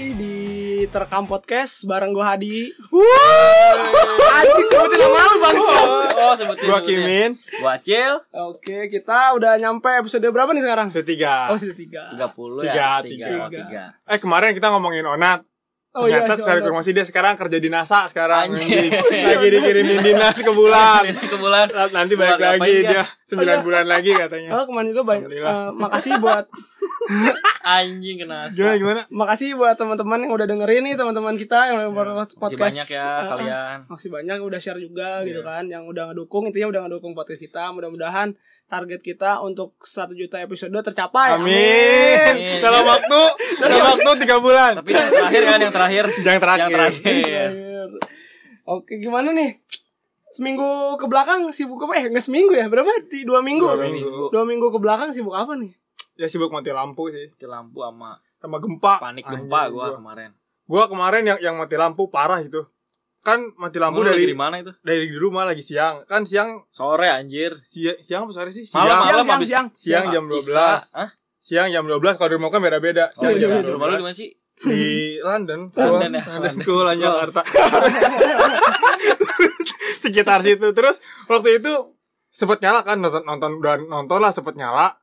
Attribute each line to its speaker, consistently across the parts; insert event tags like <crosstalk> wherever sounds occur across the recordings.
Speaker 1: di Terekam Podcast bareng gue Hadi. Anjing sebutin nama lu bangsat.
Speaker 2: Oh, sebutin.
Speaker 3: Gua
Speaker 2: sebutin.
Speaker 3: Kimin.
Speaker 2: Gua Acil.
Speaker 1: Oke, kita udah nyampe episode berapa nih sekarang?
Speaker 3: Ketiga.
Speaker 1: Oh, episode 3.
Speaker 2: 30
Speaker 3: Tiga,
Speaker 2: ya. 3,
Speaker 1: tiga.
Speaker 2: 3.
Speaker 3: Eh kemarin kita ngomongin Onat.
Speaker 1: Oh
Speaker 3: Ternyata
Speaker 1: si
Speaker 3: secara
Speaker 1: Onat.
Speaker 3: informasi dia sekarang kerja di NASA sekarang.
Speaker 2: iya, Anjing. Oh, iya,
Speaker 3: lagi dikirimin dinas ke bulan.
Speaker 2: Ke bulan.
Speaker 3: Nanti balik
Speaker 2: Bulan
Speaker 3: lagi
Speaker 2: ngapain iya.
Speaker 3: dia 9 bulan lagi katanya.
Speaker 1: Oh, kemarin juga banyak.
Speaker 3: Alhamdulillah.
Speaker 1: eh, makasih
Speaker 3: <laughs>
Speaker 1: buat
Speaker 2: Anjing kena
Speaker 3: Gimana gimana?
Speaker 1: makasih buat teman-teman yang udah dengerin nih teman-teman kita
Speaker 3: Iya.
Speaker 1: yang udah podcast.
Speaker 2: Masih banyak ya
Speaker 1: Eh, eh,
Speaker 2: kalian.
Speaker 1: Makasih banyak yang udah share juga
Speaker 3: Iya.
Speaker 1: gitu kan yang udah ngedukung intinya udah ngedukung podcast kita mudah-mudahan target kita untuk 1 juta episode tercapai
Speaker 3: Amin.
Speaker 2: Amin.
Speaker 3: Dalam waktu dalam waktu 3 bulan.
Speaker 2: Tapi yang terakhir kan yang terakhir.
Speaker 3: Yang terakhir. Iya.
Speaker 2: Yang terakhir.
Speaker 1: Amin. Oke gimana nih seminggu ke belakang sibuk apa eh nggak seminggu ya berapa Di- dua minggu
Speaker 3: Dua minggu.
Speaker 1: dua minggu ke belakang sibuk apa nih
Speaker 3: Ya sibuk mati lampu sih
Speaker 2: Mati lampu sama
Speaker 3: sama gempa.
Speaker 2: panik gempa
Speaker 3: Anjing,
Speaker 2: gua kemarin.
Speaker 3: Gua kemarin yang yang mati lampu parah itu. Kan mati lampu
Speaker 2: Kamu lagi
Speaker 3: dari
Speaker 2: di mana itu?
Speaker 3: dari di rumah lagi siang. Kan siang
Speaker 2: Sore anjir.
Speaker 3: siang, siang apa sore sih?
Speaker 2: Malam,
Speaker 3: Siang.
Speaker 2: malam.
Speaker 1: siang
Speaker 2: habis-
Speaker 1: siang
Speaker 3: Siang jam
Speaker 2: Isa.
Speaker 3: 12.
Speaker 2: Hah?
Speaker 3: Siang jam 12 kalau di rumah kan beda-beda.
Speaker 2: Oh,
Speaker 3: Siang jam
Speaker 2: iya.
Speaker 3: 12.
Speaker 2: Rumah lu di mana sih?
Speaker 3: di London
Speaker 2: London ya.
Speaker 3: London
Speaker 2: London
Speaker 3: School
Speaker 2: School.
Speaker 3: Jakarta Terus, sekitar situ terus waktu itu sempet nyala kan nonton nonton dan nonton lah sempet nyala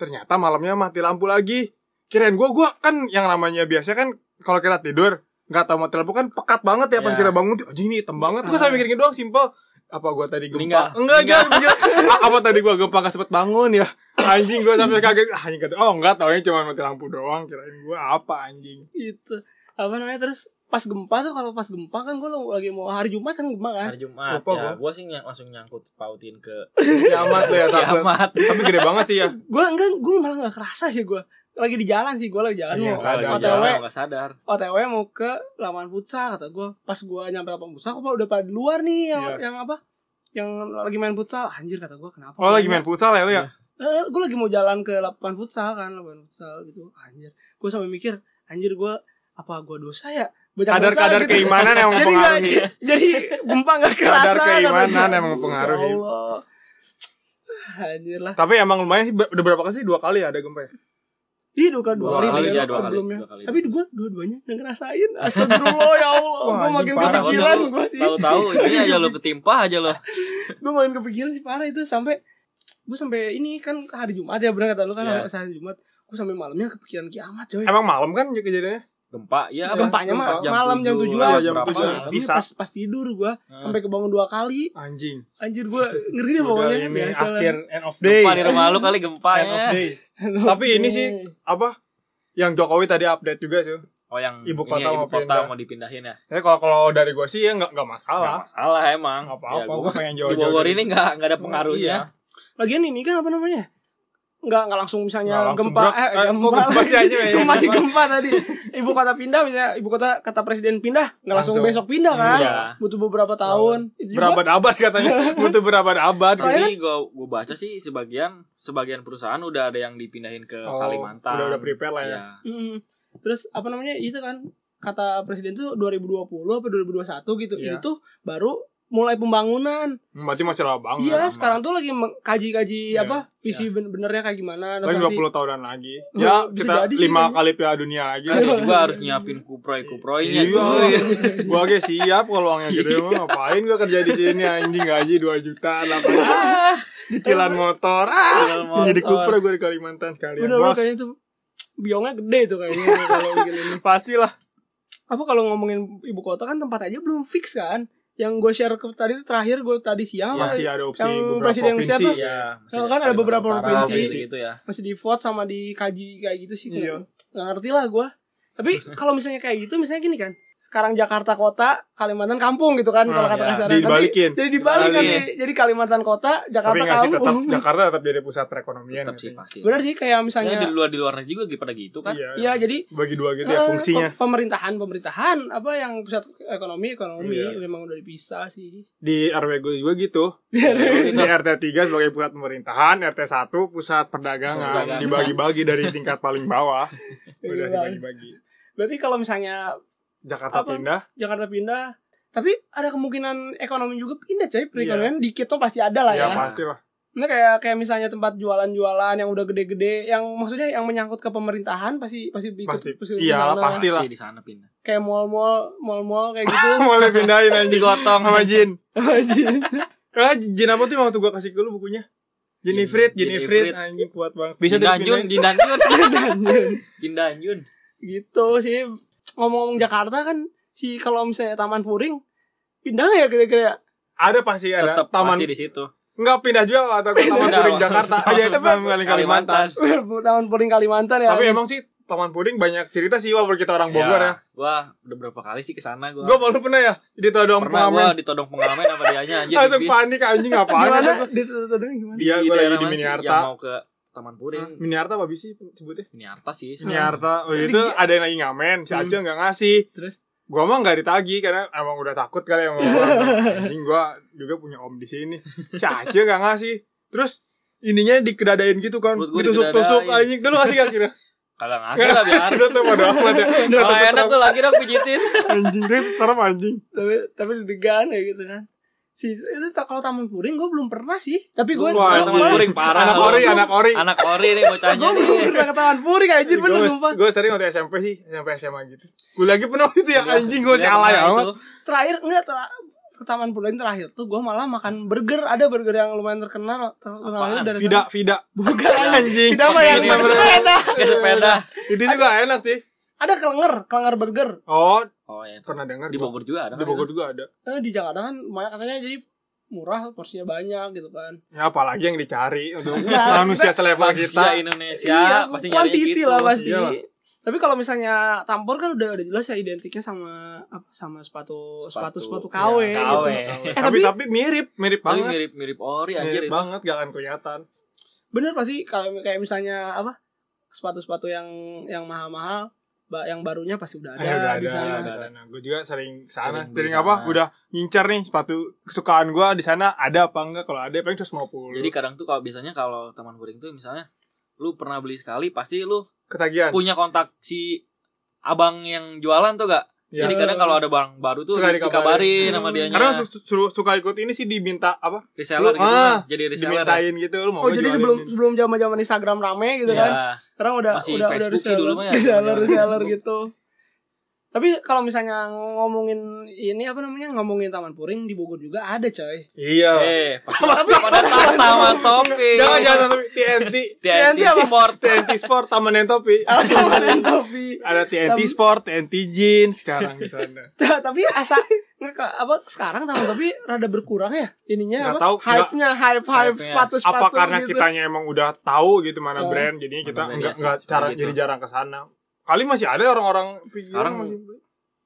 Speaker 3: ternyata malamnya mati lampu lagi kirain gua gua kan yang namanya biasa kan kalau kita tidur nggak tahu mati lampu kan pekat banget ya pas
Speaker 2: Iya.
Speaker 3: kita bangun tuh anjing ini hitam banget gua sampe mikirin doang simple apa gua tadi
Speaker 2: Meninggal.
Speaker 3: gempa enggak enggak, enggak. A- apa tadi gua gempa gak sempet bangun ya anjing gua sampai kaget Ah, anjing kata oh enggak taunya cuma mati lampu doang kirain gua apa anjing
Speaker 1: itu Gitu. apa namanya terus pas gempa tuh kalau pas gempa kan gue lagi mau hari Jumat kan gempa kan
Speaker 2: Hari Jumat.
Speaker 3: Lupa
Speaker 2: ya,
Speaker 3: gua.
Speaker 2: gua sih nyang- langsung nyangkut pautin ke
Speaker 3: Kiamat lo ya takut.
Speaker 2: kiamat.
Speaker 3: Tapi gede banget sih ya.
Speaker 1: gue enggak gue malah nggak kerasa sih gue lagi di jalan sih gue lagi jalan
Speaker 3: Iya,
Speaker 1: mau
Speaker 3: sadar,
Speaker 1: otw
Speaker 3: jalan.
Speaker 2: Gak sadar.
Speaker 1: otw mau ke lapangan futsal kata gue pas gue nyampe lapangan futsal kok udah pada di luar nih yang
Speaker 3: Iya.
Speaker 1: yang apa yang lagi main futsal anjir kata gue kenapa
Speaker 3: Oh lagi main futsal ya lo ya?
Speaker 1: gue Eh, lagi mau jalan ke lapangan futsal kan lapangan futsal gitu anjir gue sampai mikir anjir gue apa gue dosa ya Banyak dosa
Speaker 3: Kadar-kadar
Speaker 1: gitu.
Speaker 3: keimanan emang
Speaker 1: jadi nggak- iya.
Speaker 3: mempengaruhi.
Speaker 1: <laughs> jadi gempa nggak kerasa
Speaker 3: Kadar
Speaker 1: kata
Speaker 3: keimanan
Speaker 1: gua.
Speaker 3: emang mempengaruhi.
Speaker 1: Ya Allah. Anjir lah.
Speaker 3: Tapi emang lumayan sih ber- udah berapa kali sih dua kali ya ada gempa ya?
Speaker 1: Ih dua kali dua
Speaker 2: Dua
Speaker 1: kali,
Speaker 2: kali,
Speaker 1: deh,
Speaker 2: ya, dua kali,
Speaker 1: sebelumnya.
Speaker 2: dua kali.
Speaker 1: Tapi gue dua-duanya udah
Speaker 3: <laughs>
Speaker 1: ngerasain. Astagfirullah ya Allah.
Speaker 3: Wah,
Speaker 1: gue makin
Speaker 3: anjing, parah.
Speaker 1: kepikiran gue sih.
Speaker 2: Tahu-tahu ini aja lo petimpa aja lo.
Speaker 1: Gue makin kepikiran sih parah itu sampai gue sampai ini kan hari Jumat ya bener kata lu kan
Speaker 2: Iya.
Speaker 1: hari Jumat. Gue sampai malamnya kepikiran kiamat coy.
Speaker 3: Emang malam kan kejadiannya?
Speaker 2: Gempa ya.
Speaker 1: Gempanya
Speaker 2: gempa
Speaker 1: mah malam jam
Speaker 2: tujuh, Iya,
Speaker 1: tujuan.
Speaker 3: Jam
Speaker 2: berapa? Nah.
Speaker 1: Pas
Speaker 3: tujuan.
Speaker 1: malamnya
Speaker 3: Bisa.
Speaker 1: pas, pas tidur gue
Speaker 3: Ah.
Speaker 1: sampai kebangun dua kali.
Speaker 3: Anjing.
Speaker 1: Anjir
Speaker 3: <laughs>
Speaker 1: gue ngeri deh Iya,
Speaker 3: Udah
Speaker 1: pokoknya
Speaker 3: ini
Speaker 1: biasa lah.
Speaker 3: akhir end of day.
Speaker 2: Gempa ya. di rumah lu kali
Speaker 3: End of
Speaker 2: gempanya.
Speaker 3: day. Tapi ini sih apa? Yang Jokowi tadi update juga sih.
Speaker 2: Oh yang
Speaker 3: Ibu
Speaker 2: ini
Speaker 3: kota
Speaker 2: ya,
Speaker 3: mau
Speaker 2: ibu kota
Speaker 3: pindah.
Speaker 2: mau dipindahin ya.
Speaker 3: Ya kalau kalau dari gua sih ya nggak nggak
Speaker 2: Nggak
Speaker 3: masalah.
Speaker 2: masalah emang.
Speaker 3: Nggak apa-apa.
Speaker 2: Ya,
Speaker 3: gua
Speaker 2: gua-
Speaker 3: pengen
Speaker 2: di
Speaker 3: jauh-jauh.
Speaker 2: Bogor
Speaker 3: dari- Iya.
Speaker 2: ini nggak nggak ada pengaruhnya.
Speaker 1: Lagian ini kan apa namanya? Enggak enggak langsung
Speaker 3: Nggak
Speaker 1: misalnya
Speaker 3: langsung
Speaker 1: gempa
Speaker 3: berat.
Speaker 1: eh,
Speaker 3: Eh,
Speaker 1: gempa,
Speaker 3: kok gempa sih
Speaker 1: <laughs>
Speaker 3: aja, ya?
Speaker 1: Itu masih
Speaker 3: <laughs>
Speaker 1: gempa tadi. Ibu kota pindah misalnya ibu kota kata presiden pindah, enggak langsung,
Speaker 3: Langsung.
Speaker 1: besok pindah kan?
Speaker 2: Iya.
Speaker 1: Butuh beberapa tahun. Itu juga
Speaker 3: Berabad-abad
Speaker 1: <laughs>
Speaker 3: katanya. Butuh berabad-abad.
Speaker 1: Soalnya kan
Speaker 2: Jadi gua gua baca sih sebagian sebagian perusahaan udah ada yang dipindahin ke
Speaker 3: Oh,
Speaker 2: Kalimantan.
Speaker 3: Udah udah prepare lah ya.
Speaker 2: Iya.
Speaker 1: Mm. Terus apa namanya? Itu kan kata presiden tuh 2020 apa 2021 gitu.
Speaker 3: Iya.
Speaker 1: Itu baru mulai pembangunan.
Speaker 3: Berarti masih lama banget.
Speaker 1: Iya,
Speaker 3: Lama.
Speaker 1: sekarang tuh lagi meng- kaji-kaji
Speaker 3: Iya,
Speaker 1: apa visi ben- benernya kayak gimana. Terus
Speaker 3: Paling
Speaker 1: nanti-
Speaker 3: 20 tahunan lagi. Ya,
Speaker 1: Bisa
Speaker 3: kita
Speaker 1: jadi sih,
Speaker 3: lima
Speaker 1: kan?
Speaker 3: kali Piala Dunia lagi.
Speaker 2: Ada juga harus nyiapin kuproy-kuproynya
Speaker 3: Iya.
Speaker 2: cuy.
Speaker 3: gua aja siap kalau uangnya gede mah ngapain gua kerja di sini anjing gaji 2 juta lah
Speaker 1: <laughs> Ah,
Speaker 3: cicilan motor ah
Speaker 2: Cicilan motor.
Speaker 3: jadi kuper gua di Kalimantan sekalian
Speaker 1: Bener bener
Speaker 3: Iya, bos
Speaker 1: kayaknya tuh biongnya gede tuh kayaknya kalau bikin
Speaker 3: <laughs>
Speaker 1: ini.
Speaker 3: pastilah
Speaker 1: Apa kalau ngomongin ibu kota kan tempat aja belum fix kan? Yang gue share ke tadi tuh terakhir gue tadi siang apa-
Speaker 3: masih ada opsi
Speaker 1: yang
Speaker 3: beberapa
Speaker 1: presiden
Speaker 3: provinsi
Speaker 1: Indonesia tuh-
Speaker 2: Iya, mesti
Speaker 1: Kan ada beberapa
Speaker 2: Kalimantan
Speaker 1: provinsi.
Speaker 2: Utara, gitu ya.
Speaker 1: masih di vote sama dikaji kayak gitu sih.
Speaker 3: Iya.
Speaker 1: Gak ngerti lah gue.
Speaker 3: <laughs>
Speaker 1: Tapi kalau misalnya kayak gitu misalnya gini kan. Sekarang Jakarta kota, Kalimantan kampung gitu kan
Speaker 3: Hmm,
Speaker 1: kalau kata
Speaker 2: iya.
Speaker 1: kasarnya. Nanti-
Speaker 3: Dibalikin.
Speaker 1: Jadi dibalik
Speaker 2: Dibalik.
Speaker 1: nanti. Jadi Kalimantan kota,
Speaker 3: tapi
Speaker 1: Jakarta
Speaker 3: nggak sih tetap
Speaker 1: <laughs> kampung.
Speaker 3: Jakarta tetap jadi pusat perekonomian ya
Speaker 2: Tetap sih
Speaker 3: katanya.
Speaker 2: pasti.
Speaker 1: Bener sih kayak
Speaker 2: Ya, di
Speaker 1: misalnya
Speaker 2: luar di luarnya juga pada gitu
Speaker 3: <laughs>
Speaker 2: kan.
Speaker 3: iya
Speaker 1: Iya, jadi
Speaker 3: bagi dua gitu ya
Speaker 1: Eh,
Speaker 3: fungsinya
Speaker 1: pe- pemerintahan pemerintahan apa yang pusat ekonomi ekonomi
Speaker 3: Iya.
Speaker 1: memang udah dipisah sih
Speaker 3: di RW gue juga gitu
Speaker 2: RW.
Speaker 3: di RT 3 sebagai pusat pemerintahan RT 1 pusat
Speaker 2: Perdagangan.
Speaker 3: perdagangan dibagi-bagi dari tingkat paling bawah
Speaker 1: Iya.
Speaker 3: udah dibagi-bagi
Speaker 1: berarti kalau misalnya
Speaker 3: Jakarta
Speaker 1: Apa?
Speaker 3: pindah
Speaker 1: Jakarta pindah
Speaker 3: Iya.
Speaker 1: tapi ada kemungkinan ekonomi juga pindah coy perekonomian dikit tuh pasti ada lah ya
Speaker 3: ya pasti lah
Speaker 1: Ini kayak kayak misalnya tempat jualan-jualan yang udah gede-gede, yang maksudnya yang menyangkut ke pemerintahan pasti pasti ikut
Speaker 3: Pasti.
Speaker 1: ikut
Speaker 3: Iyalah,
Speaker 1: kesana.
Speaker 3: pasti. lah.
Speaker 2: di sana pindah. Kan
Speaker 1: Kayak mall-mall, mall-mall kayak
Speaker 3: <laughs>
Speaker 1: gitu.
Speaker 3: Mau pindahin anjing
Speaker 2: Digotong.
Speaker 3: sama Jin.
Speaker 1: Anjing.
Speaker 3: <laughs> Ah, Jin apa tuh yang waktu gua kasih ke lu bukunya? Jenifrit,
Speaker 2: Jin-
Speaker 3: Jenifrit,
Speaker 2: Jenifrit.
Speaker 3: anjing kuat banget.
Speaker 2: Bisa Dindanjun,
Speaker 3: dipindahin. <laughs>
Speaker 2: Dindanjun, Dindanjun. Dindanjun.
Speaker 1: gitu sih. Ngomong-ngomong Jakarta kan si kalau misalnya Taman Puring pindah nggak ya kira-kira <laughs> ya?
Speaker 3: Ada pasti ada.
Speaker 2: Tetap
Speaker 3: Iya, taman
Speaker 2: pasti di situ.
Speaker 3: enggak pindah juga atau ke Taman
Speaker 2: Pindah,
Speaker 3: Puring
Speaker 2: Bang. <laughs>
Speaker 3: Jakarta. Iya, <laughs> Taman Puring Kalimantan.
Speaker 2: Kalimantan.
Speaker 1: Taman Puring Kalimantan ya.
Speaker 3: Tapi emang sih Taman Puring banyak cerita sih walaupun kita orang Bogor ya.
Speaker 2: Gua Iya. udah berapa kali sih ke sana gua.
Speaker 3: Gua malu pernah ya ditodong
Speaker 2: Pernah gua
Speaker 3: pengamen.
Speaker 2: ditodong pengamen apa dianya anjir di
Speaker 3: ya? Langsung
Speaker 2: bis.
Speaker 3: panik anjing apaan ya
Speaker 1: gimana?
Speaker 3: gua.
Speaker 1: Ditutupin gimana?
Speaker 3: Iya, gua lagi
Speaker 2: daerah
Speaker 3: di
Speaker 2: mana sih? Yang
Speaker 3: Miniarta. Hmm.
Speaker 2: mau ke Taman Puring,
Speaker 3: Miniarta apa sih sebutnya?
Speaker 2: Miniarta sih. sebenarnya.
Speaker 3: Miniarta. Oh, itu ada yang lagi ngamen, si
Speaker 1: Hmm.
Speaker 3: Acil enggak ngasih.
Speaker 1: Terus
Speaker 3: Gua mah nggak ditagi karena emang udah takut kali
Speaker 1: <laughs>
Speaker 3: sama orang. Anjing gua juga punya om di sini. Si Acil nggak ngasih. Terus ininya dikedadain gitu kan.
Speaker 2: Perut gua
Speaker 3: Ditusuk-tusuk
Speaker 2: dikedadain.
Speaker 3: anjing. Dulu ngasih gak
Speaker 2: <laughs>
Speaker 3: kira?
Speaker 2: Kagak ngasih lah
Speaker 3: <laughs>
Speaker 2: biar.
Speaker 3: Udah tuh bodo amat ya. Udah
Speaker 2: Kalau
Speaker 3: tutup
Speaker 2: enak tuh lagi dong
Speaker 3: <laughs>
Speaker 2: pijitin.
Speaker 3: anjing dia serem anjing.
Speaker 1: tapi tapi deg-degan ya gitu kan si itu ta- kalau taman puring gue belum pernah sih tapi gue
Speaker 3: Wah,
Speaker 1: gue
Speaker 2: Taman
Speaker 3: anjing.
Speaker 2: Puring parah.
Speaker 3: Anak ori, anak ori.
Speaker 2: Anak ori nih bocahnya nih.
Speaker 1: belum pernah ke taman puring aja bener sumpah
Speaker 3: Gue sering waktu SMP sih, SMP SMA gitu. Gue lagi pernah itu ya anjing gue salah ya.
Speaker 2: Itu.
Speaker 3: amat.
Speaker 1: terakhir enggak ter- ke taman puring terakhir tuh gue malah makan burger ada burger yang lumayan terkenal terkenal
Speaker 2: Apaan?
Speaker 1: itu dari
Speaker 3: Vida, Vida. Bukan anjing.
Speaker 1: Vida mah yang
Speaker 2: Ini yang
Speaker 1: sepeda.
Speaker 2: Ke sepeda.
Speaker 3: Itu juga enak sih.
Speaker 1: ada kelenger kelenger burger
Speaker 3: Oh,
Speaker 2: Oh iya.
Speaker 3: pernah dengar.
Speaker 2: Di Bogor juga ada. kan? Iya,
Speaker 3: Di Bogor juga ada.
Speaker 1: Eh, di Jakarta kan banyak katanya jadi murah porsinya banyak gitu kan
Speaker 3: Ya apalagi yang dicari untuk
Speaker 1: Iya.
Speaker 3: manusia selevel
Speaker 2: Manusia
Speaker 3: kita.
Speaker 2: Indonesia Iya, pasti nyari
Speaker 1: quantity
Speaker 2: gitu.
Speaker 1: lah pasti
Speaker 3: Iya lah.
Speaker 1: tapi kalau misalnya tampor kan udah udah jelas ya identiknya sama apa sama sepatu sepatu
Speaker 2: Sepatu. Iya,
Speaker 1: sepatu KW
Speaker 3: Ya,
Speaker 1: gitu.
Speaker 2: KW.
Speaker 1: Eh,
Speaker 3: tapi
Speaker 1: tapi-
Speaker 3: tapi mirip, mirip
Speaker 2: Tapi
Speaker 3: banget.
Speaker 2: mirip-mirip ori anjir
Speaker 3: Mirip
Speaker 2: itu.
Speaker 3: banget gak akan kelihatan.
Speaker 1: bener pasti kalau kayak misalnya apa sepatu-sepatu yang yang mahal-mahal ba- yang barunya pasti udah ada
Speaker 2: Eh,
Speaker 3: Ya, udah
Speaker 1: di
Speaker 3: ada,
Speaker 1: sana
Speaker 3: udah ada. Gue juga sering ke sana.
Speaker 2: Sering
Speaker 3: Sering
Speaker 2: beli
Speaker 3: apa?
Speaker 2: sana.
Speaker 3: Udah ngincer nih sepatu kesukaan gue di sana ada apa enggak? Kalau ada paling 150.
Speaker 2: Jadi kadang tuh kalau biasanya kalau taman puring tuh misalnya lu pernah beli sekali pasti lu
Speaker 3: ketagihan.
Speaker 2: punya kontak si abang yang jualan tuh gak?
Speaker 3: Ya.
Speaker 2: Jadi kadang kalau ada barang baru tuh
Speaker 3: Suka dikabarin. Hmm.
Speaker 2: dikabarin sama dia
Speaker 3: Karena su- su- su- suka ikut ini sih diminta apa? Lu-
Speaker 2: reseller gitu
Speaker 3: ah,
Speaker 2: kan. Jadi reseller. ya.
Speaker 3: Dimintain gitu lu
Speaker 1: oh
Speaker 3: mau nggak
Speaker 1: jadi
Speaker 3: jualin
Speaker 1: sebelum
Speaker 3: ini?
Speaker 1: sebelum zaman zaman Instagram rame gitu
Speaker 2: Ya,
Speaker 1: kan sekarang udah
Speaker 2: Masih
Speaker 1: udah udah
Speaker 2: Facebook sih
Speaker 1: reseller
Speaker 2: dulu mah ya,
Speaker 1: reseller
Speaker 2: zaman-zaman
Speaker 1: reseller
Speaker 2: Facebook.
Speaker 1: gitu tapi kalau misalnya ngomongin ini apa namanya ngomongin Taman Puring di Bogor juga ada
Speaker 2: <laughs>
Speaker 1: coy
Speaker 3: Iya.
Speaker 2: Eh, pasti pada tahu sama topi. Iya,
Speaker 3: Jangan jangan tapi TNT
Speaker 2: TNT
Speaker 1: TNT apa?
Speaker 2: Sport.
Speaker 3: TNT Sport Taman yang Topi.
Speaker 1: Taman Topi
Speaker 3: Ada TNT Sport, TNT Jeans sekarang di sana.
Speaker 1: <laughs> tapi asa nggak ke- apa sekarang Taman Topi rada berkurang ya ininya
Speaker 3: Nggak
Speaker 1: apa
Speaker 3: tahu,
Speaker 1: hype-nya hype hype
Speaker 2: Hype-nya.
Speaker 1: sepatu sepatu
Speaker 3: Apa karena
Speaker 1: gitu.
Speaker 3: kitanya emang udah tahu gitu mana
Speaker 1: Oh.
Speaker 3: brand, jadinya kita
Speaker 2: Mana brand
Speaker 3: enggak
Speaker 2: ya sih,
Speaker 3: enggak
Speaker 2: seperti
Speaker 3: jarang
Speaker 2: itu.
Speaker 3: jadi jarang ke sana. Kali masih ada orang-orang gitu. pinggir
Speaker 2: Sekarang
Speaker 3: masih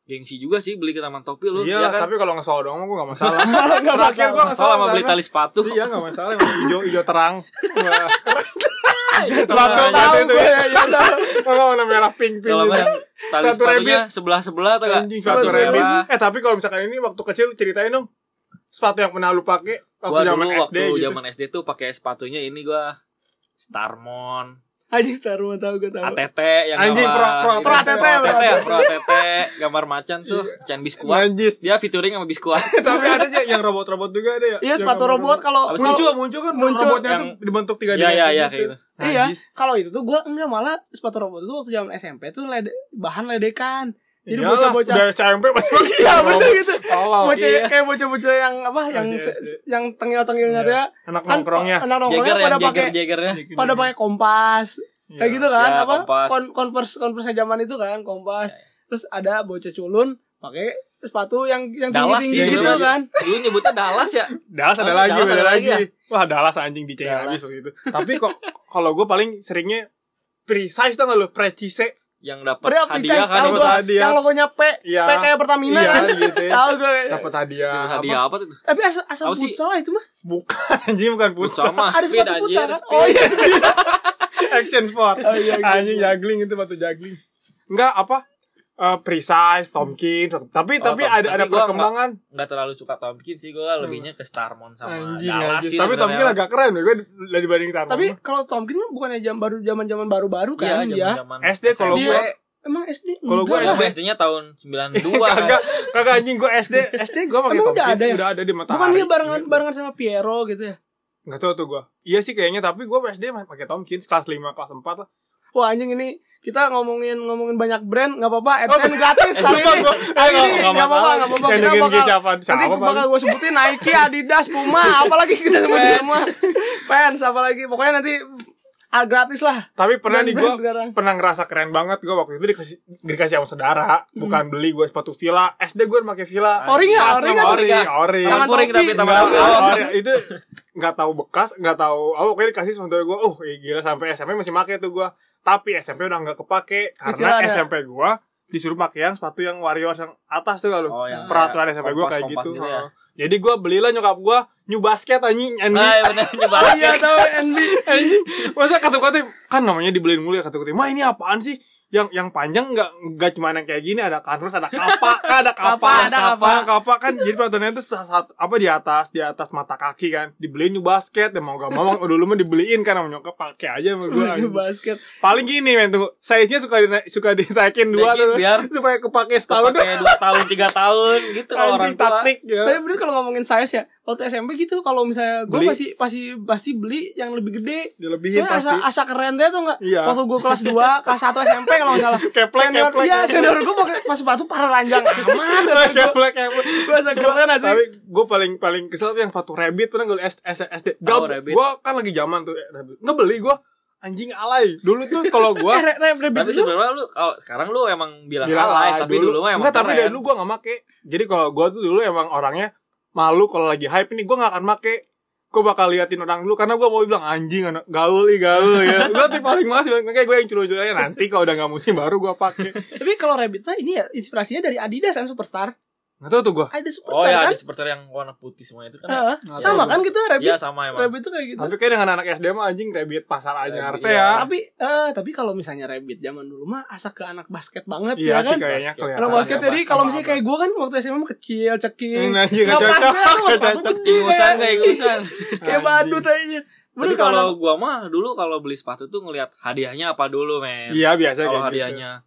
Speaker 2: Gengsi juga sih beli ke taman topi lu.
Speaker 3: Iya,
Speaker 2: ya kan?
Speaker 3: tapi kalau ngesol doang gue gak masalah. Terakhir gue ngesol
Speaker 2: Salah sama beli tali sepatu.
Speaker 3: Iya gak masalah emang hijau hijau terang. Wah,
Speaker 2: Tali
Speaker 3: Tahu
Speaker 2: sepatunya.
Speaker 3: gue ya, iya tahu. Kalau warna merah pink pink.
Speaker 2: Kalau
Speaker 3: gitu.
Speaker 2: nggak yang tali
Speaker 3: Satu
Speaker 2: sepatunya sebelah-sebelah atau enggak?
Speaker 3: Anjing
Speaker 2: Satu
Speaker 3: sepatu rabbit.
Speaker 2: merah.
Speaker 3: Eh tapi kalau misalkan ini waktu kecil ceritain dong. Sepatu yang pernah lu pakai waktu
Speaker 2: Gua
Speaker 3: zaman
Speaker 2: dulu
Speaker 3: SD
Speaker 2: waktu
Speaker 3: gitu.
Speaker 2: zaman SD tuh pakai sepatunya ini gua Starmon,
Speaker 1: Anjing Star Wars tahu gue tahu.
Speaker 2: ATT yang
Speaker 3: Anjing,
Speaker 2: gambar-
Speaker 3: pro pro
Speaker 1: Pro ATT,
Speaker 2: Pro
Speaker 1: pro
Speaker 2: ATT, pro ATT, gambar macan tuh,
Speaker 3: Iya.
Speaker 2: macan biskuat.
Speaker 3: Najis.
Speaker 2: Dia featuring sama biskuat.
Speaker 3: <laughs> tapi ada sih yang robot-robot juga ada ya.
Speaker 1: Iya
Speaker 3: Yang
Speaker 1: sepatu robot kalau
Speaker 2: Apa sih?
Speaker 1: kalau-
Speaker 3: Muncul muncul kan
Speaker 1: Muncul.
Speaker 3: robotnya
Speaker 2: Yang-
Speaker 3: tuh dibentuk tiga
Speaker 2: Iya,
Speaker 3: dimensi.
Speaker 2: iya, iya kayak gitu.
Speaker 1: iya
Speaker 3: Najis.
Speaker 1: kalau itu tuh gue enggak malah sepatu robot itu waktu zaman SMP tuh lede- bahan ledekan. Jadi
Speaker 3: Iyalah,
Speaker 1: bocah-bocah
Speaker 3: udah <laughs> Oh. SMP masih
Speaker 1: Iya bener gitu.
Speaker 3: Tolong.
Speaker 1: Bocah
Speaker 2: iya.
Speaker 1: kayak bocah-bocah yang apa yang
Speaker 3: Masih
Speaker 1: se-
Speaker 3: SD.
Speaker 1: se- yang tengil-tengilnya tuh ya.
Speaker 3: Anak
Speaker 1: Kan
Speaker 3: Iya, nongkrongnya.
Speaker 1: anak nongkrongnya
Speaker 2: Jagger yang
Speaker 1: pada pakai
Speaker 2: jagger jagernya.
Speaker 1: pada pakai kompas.
Speaker 3: Iya.
Speaker 1: Kayak gitu kan
Speaker 2: Ya,
Speaker 1: apa?
Speaker 2: kompas.
Speaker 1: Kon- Converse Converse zaman itu kan kompas. Terus ada bocah culun pakai sepatu yang yang
Speaker 2: Dallas
Speaker 1: tinggi-tinggi
Speaker 3: sih
Speaker 1: gitu
Speaker 2: sebenarnya.
Speaker 1: kan.
Speaker 2: Dulu nyebutnya Dallas ya.
Speaker 3: Dallas ada
Speaker 2: Dallas-
Speaker 3: lagi,
Speaker 2: Dallas
Speaker 3: ada
Speaker 2: ada
Speaker 3: lagi.
Speaker 2: lagi ya?
Speaker 3: Wah, Dallas anjing dicengin
Speaker 2: Dallas.
Speaker 3: habis waktu itu. Tapi kok kalau gue paling seringnya precise tau gak lu? Precise.
Speaker 2: Yang dapat
Speaker 1: Padahal
Speaker 2: hadiah
Speaker 1: Precise
Speaker 2: kan
Speaker 1: tahu
Speaker 3: dapat
Speaker 1: gue
Speaker 3: hadiah.
Speaker 1: yang logonya P,
Speaker 3: Iya.
Speaker 1: P kayak Pertamina
Speaker 3: Iya,
Speaker 1: kan.
Speaker 3: gitu ya.
Speaker 1: <laughs> Tahu gue.
Speaker 3: Dapat hadiah.
Speaker 2: Nah, hadiah
Speaker 3: Apa?
Speaker 2: apa tuh?
Speaker 1: Tapi asal asal
Speaker 2: Tahu sih.
Speaker 1: futsal lah itu mah.
Speaker 3: Bukan anjing bukan
Speaker 2: Futsal
Speaker 3: futsal.
Speaker 2: mah
Speaker 1: Ada
Speaker 2: speed
Speaker 1: sepatu
Speaker 2: anjir.
Speaker 1: futsal kan.
Speaker 2: speed.
Speaker 1: Oh iya.
Speaker 3: <laughs> Action sport.
Speaker 2: Oh, iya,
Speaker 3: anjing juggling itu batu juggling. Enggak apa? Eh, precise, Tomkins, tapi tapi
Speaker 2: Oh, Tom-
Speaker 3: ada ada
Speaker 2: tapi gua
Speaker 3: perkembangan
Speaker 2: Nggak terlalu suka Tompkins sih gue lebihnya ke Starmon sama
Speaker 3: anjing,
Speaker 2: Dallas
Speaker 3: anjing.
Speaker 2: sih.
Speaker 3: tapi Tomkins
Speaker 2: sebenarnya.
Speaker 3: agak keren ya, gue dibanding Tarno
Speaker 1: Tapi kalau Tomkin mah bukannya jam baru zaman-zaman baru-baru
Speaker 2: Iya,
Speaker 1: kan dia.
Speaker 2: zaman-zaman
Speaker 3: SD kalau
Speaker 2: SMP.
Speaker 1: gua-
Speaker 2: Iya,
Speaker 1: Emang SD
Speaker 3: Kalau gua
Speaker 1: enggak lah.
Speaker 2: gua SD-nya tahun 92.
Speaker 3: kagak kagak anjing gue SD SD gue pakai
Speaker 1: Emang udah
Speaker 3: Tomkins
Speaker 1: ada ya?
Speaker 3: udah ada di matahari
Speaker 1: Bukan dia barengan barengan sama Piero gitu ya.
Speaker 3: Nggak tahu tuh gua. Iya sih kayaknya, tapi gua SD main pakai Tomkins kelas 5 kelas 4 lah.
Speaker 1: Wah anjing ini kita ngomongin ngomongin banyak brand nggak apa-apa AdSense Kan
Speaker 3: <laughs>
Speaker 1: gratis hari
Speaker 3: Lupa
Speaker 1: ini.
Speaker 3: Oh, gua. Eh,
Speaker 1: Hari ini
Speaker 3: nggak- nggak
Speaker 1: nggak apa-apa
Speaker 3: masalah.
Speaker 1: nggak apa-apa
Speaker 3: Kayak
Speaker 1: kita
Speaker 3: dengerin
Speaker 1: bakal
Speaker 3: siapa siapa
Speaker 1: nanti gua bakal
Speaker 3: paling.
Speaker 1: gue sebutin Nike, Adidas, Puma, apalagi kita sebutin semua fans apalagi pokoknya nanti ah, gratis lah.
Speaker 3: Tapi pernah nih gua
Speaker 1: Brand-brand sekarang.
Speaker 3: pernah ngerasa keren banget gua waktu itu dikasih dikasih sama saudara,
Speaker 1: Hmm.
Speaker 3: bukan beli gua sepatu Villa. SD gua pakai Villa.
Speaker 1: Ori nggak?
Speaker 3: Kelas
Speaker 1: Ori
Speaker 3: enam,
Speaker 1: nggak tuh?
Speaker 3: Ori, ori.
Speaker 1: Tangan
Speaker 2: Kuring
Speaker 1: topi.
Speaker 2: tapi teman
Speaker 3: Nggak,
Speaker 2: aku.
Speaker 3: nggak, nggak, itu nggak tahu bekas nggak tahu oh pokoknya dikasih sama saudara gue oh iya gila sampai SMP masih make tuh gue tapi SMP udah nggak kepake
Speaker 1: Kecil ada.
Speaker 3: karena SMP gue disuruh pakai yang sepatu yang warrior yang atas tuh kalau
Speaker 2: Oh, yang
Speaker 3: peraturan
Speaker 2: kayak
Speaker 3: SMP gue kayak
Speaker 2: kompas-kompas
Speaker 3: gitu,
Speaker 2: gitu ya.
Speaker 3: Heeh. jadi gue belilah nyokap gue new basket anjing anjing
Speaker 2: Ah, ya benar nyebar.
Speaker 1: Oh iya tahu NB.
Speaker 3: anjing masa kata kata kan namanya dibeliin mulu ya kata kata ma ini apaan sih yang yang panjang nggak nggak cuma yang kayak gini ada kanvas ada kapak kan, ada
Speaker 1: Kapak,
Speaker 3: kapak
Speaker 1: ada kapak.
Speaker 3: kapak kan jadi peraturannya itu satu apa di atas di atas mata kaki kan dibeliin new basket ya mau gak mau <laughs> dulu mah dibeliin kan sama nyokap pakai aja sama gue
Speaker 1: Ini <laughs> basket.
Speaker 3: paling gini men tunggu size nya suka dina- suka ditaikin dua
Speaker 2: Naikin
Speaker 3: tuh
Speaker 2: biar
Speaker 3: <laughs> supaya kepake setahun
Speaker 2: Pakai 2 tahun, 3 tahun gitu kalau orang
Speaker 3: anjing
Speaker 2: tua.
Speaker 3: taktik
Speaker 1: Tapi
Speaker 3: ya
Speaker 1: bener kalau ngomongin size ya, waktu SMP gitu kalau misalnya gue
Speaker 3: Beli.
Speaker 1: pasti pasti pasti beli yang lebih gede.
Speaker 3: dilebihin
Speaker 1: Soalnya asa, <laughs>
Speaker 3: pasti
Speaker 1: asa keren dia tuh enggak.
Speaker 3: Iya.
Speaker 1: Waktu gue kelas 2, kelas 1 SMP kalau nggak salah.
Speaker 3: <laughs> Keplek,
Speaker 1: senior,
Speaker 3: keplek.
Speaker 1: Iya, senior gue pakai pas sepatu parah
Speaker 3: <laughs>
Speaker 1: ranjang amat.
Speaker 3: Keplek, keplek.
Speaker 1: Gue asa keren aja.
Speaker 3: tapi gue paling paling kesel tuh yang sepatu rabbit pernah gue S- S- SD
Speaker 2: Tahu
Speaker 3: Gab-
Speaker 2: Oh, rabbit.
Speaker 3: gue kan lagi zaman tuh eh, rabbit nggak beli gue anjing alay dulu tuh kalau gue
Speaker 1: Eh, re, re, re,
Speaker 2: Tapi
Speaker 1: itu
Speaker 2: sebenarnya lu kalau sekarang lu emang <laughs> bilang alay, tapi dulu mah emang
Speaker 3: enggak tapi
Speaker 2: keren. Oh,
Speaker 3: dari dulu gue nggak make jadi kalau gue tuh dulu emang orangnya malu kalau lagi hype ini gue nggak akan make gue bakal liatin orang dulu karena gue mau bilang anjing anak gaul ih
Speaker 2: <laughs>
Speaker 3: gaul ya gue tuh paling males bilang, kayak gue yang curun aja nanti kalau udah nggak musim baru gue pakai
Speaker 1: tapi kalau Rabbit mah ini ya inspirasinya dari Adidas kan Superstar.
Speaker 3: nggak tahu tuh gue
Speaker 1: Ada Superstar
Speaker 3: iya,
Speaker 2: Oh ya,
Speaker 1: kan?
Speaker 2: ada seperti yang warna putih semua itu kan.
Speaker 1: Heeh.
Speaker 3: Nggak
Speaker 1: sama
Speaker 3: tahu
Speaker 1: kan kita Rabbit.
Speaker 2: Iya, sama emang.
Speaker 1: Rabbit tuh kayak gitu.
Speaker 3: tapi kayak dengan anak SD mah anjing rabbit pasar anyar
Speaker 2: Rabbit,
Speaker 3: teh
Speaker 2: iya.
Speaker 3: ya
Speaker 1: Tapi eh tapi kalau misalnya Rabbit zaman dulu mah asa ke anak basket banget ya
Speaker 3: iya
Speaker 1: kan?
Speaker 3: sih kayaknya kelihatan
Speaker 1: Anak basket
Speaker 2: Anak
Speaker 1: jadi
Speaker 2: basket
Speaker 1: kalau
Speaker 2: Iya, sama
Speaker 1: misalnya kayak gue kan waktu SMA mah kecil, cekik.
Speaker 3: Hmm, anjing,
Speaker 1: Nggak
Speaker 3: nggak cocok,
Speaker 1: pas, kan?
Speaker 3: nggak
Speaker 1: Sepatu
Speaker 3: cocok.
Speaker 1: gede,
Speaker 2: Ingusan
Speaker 1: kan?
Speaker 2: kayak ingusan.
Speaker 1: <laughs> Kayak
Speaker 3: Anjing.
Speaker 1: badut aja.
Speaker 2: Tapi
Speaker 1: Bener kalau
Speaker 2: kalau gua mah dulu kalau beli sepatu tuh ngelihat hadiahnya apa dulu, men.
Speaker 3: Iya biasa kayak
Speaker 2: Kalau hadiahnya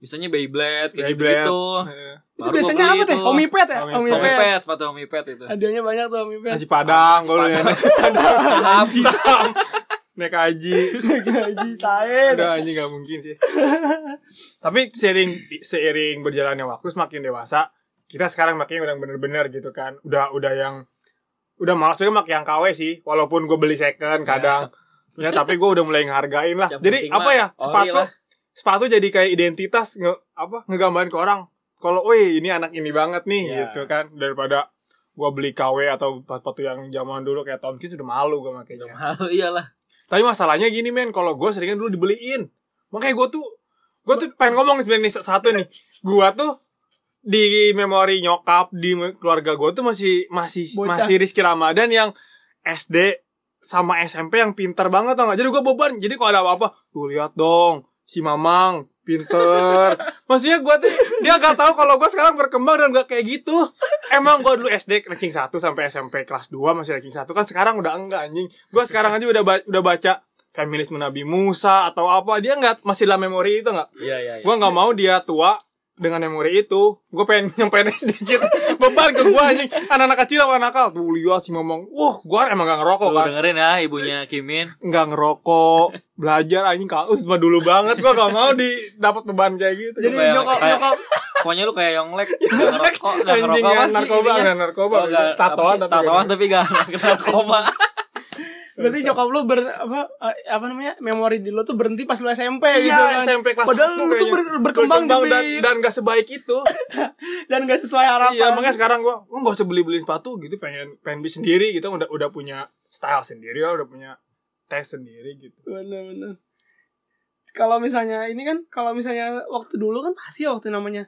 Speaker 2: biasanya Beyblade kayak
Speaker 3: Beyblade.
Speaker 2: gitu.
Speaker 3: gitu. Iya.
Speaker 1: itu biasanya apa teh? Homie pet ya?
Speaker 3: Homie
Speaker 1: Homie
Speaker 3: pet.
Speaker 1: pet.
Speaker 2: Homipet, sepatu homipet itu.
Speaker 1: Hadiahnya banyak tuh Mimi
Speaker 3: Nasi padang gue lihat nasi <laughs> padang.
Speaker 2: Saham. <laughs>
Speaker 3: Naik haji.
Speaker 1: Gaji tae.
Speaker 3: Udah anjing gak mungkin sih. Tapi seiring seiring berjalannya waktu semakin dewasa, kita sekarang makin udah bener-bener gitu kan. Udah udah yang udah malas juga makin yang KW sih. Walaupun gue beli second kadang. Ya tapi gue udah mulai ngehargain lah.
Speaker 2: Yang
Speaker 3: Jadi
Speaker 2: penting
Speaker 3: apa
Speaker 2: mah,
Speaker 3: ya?
Speaker 2: ori
Speaker 3: Sepatu
Speaker 2: lah.
Speaker 3: sepatu jadi kayak identitas nge, apa ngegambarin ke orang kalau woi ini anak ini banget nih
Speaker 2: Iya.
Speaker 3: gitu kan daripada gua beli KW atau sepatu yang zaman dulu kayak Tomkins udah malu gua makainya
Speaker 2: Mahal iyalah.
Speaker 3: tapi masalahnya gini men kalau gua seringan dulu dibeliin makanya gua tuh gua tuh pengen ngomong sebenarnya nih, satu nih gua tuh di memori nyokap di me- keluarga gua tuh masih masih
Speaker 1: Bocah.
Speaker 3: masih Rizky Ramadan yang SD sama SMP yang pinter banget tau gak? Jadi gua beban. Jadi kalau ada apa-apa, tuh lihat dong si Mamang pinter. Maksudnya gua tuh dia gak tahu kalau gua sekarang berkembang dan gak kayak gitu. Emang gua dulu SD ranking 1 sampai SMP kelas 2 masih ranking 1 kan sekarang udah enggak anjing. Gua sekarang aja udah ba- udah baca feminisme Nabi Musa atau apa dia nggak masih dalam memori itu nggak?
Speaker 2: Iya, iya, iya.
Speaker 3: gue nggak mau dia tua dengan memori itu gue pengen <laughs> nyampein sedikit beban ke gue anjing anak-anak kecil apa nakal tuh lihat si ngomong wah gue emang gak ngerokok
Speaker 2: Tuh,
Speaker 3: kan
Speaker 2: dengerin ya ibunya Kimin.
Speaker 3: nggak ngerokok belajar anjing kau cuma dulu banget gue gak mau di dapat beban kayak gitu
Speaker 1: Jadi
Speaker 2: Kayak-
Speaker 1: nyokap
Speaker 2: kayak-
Speaker 1: nyokap
Speaker 2: Pokoknya lu kayak Yonglek,
Speaker 3: <laughs>
Speaker 2: nggak ya, ngerokok, nggak
Speaker 3: anjing
Speaker 2: ngerokok
Speaker 3: ya,
Speaker 2: apa sih
Speaker 3: narkoba
Speaker 2: intinya?
Speaker 3: nggak narkoba
Speaker 2: Oh, nggak-
Speaker 3: tatoan
Speaker 2: apa sih?
Speaker 3: tapi gitu.
Speaker 2: tatoan tapi gak
Speaker 3: <laughs>
Speaker 2: narkoba.
Speaker 3: iya.
Speaker 1: berarti nyokap lu ber apa eh, apa namanya memori di lu tuh berhenti pas lu SMP gitu.
Speaker 3: Iya,
Speaker 1: kan.
Speaker 3: SMP kelas
Speaker 1: Padahal
Speaker 3: satu
Speaker 1: lu tuh
Speaker 3: kayaknya.
Speaker 1: ber- berkembang
Speaker 3: dan,
Speaker 1: demi
Speaker 3: dan gak sebaik itu
Speaker 1: dan gak sesuai harapan.
Speaker 3: iya makanya sekarang gue gue gak usah beli beli sepatu gitu pengen pengen beli sendiri gitu udah udah punya style sendiri lah udah punya taste sendiri gitu
Speaker 1: Bener-bener. Kalau misalnya ini kan, kalau misalnya waktu dulu kan pasti waktu namanya,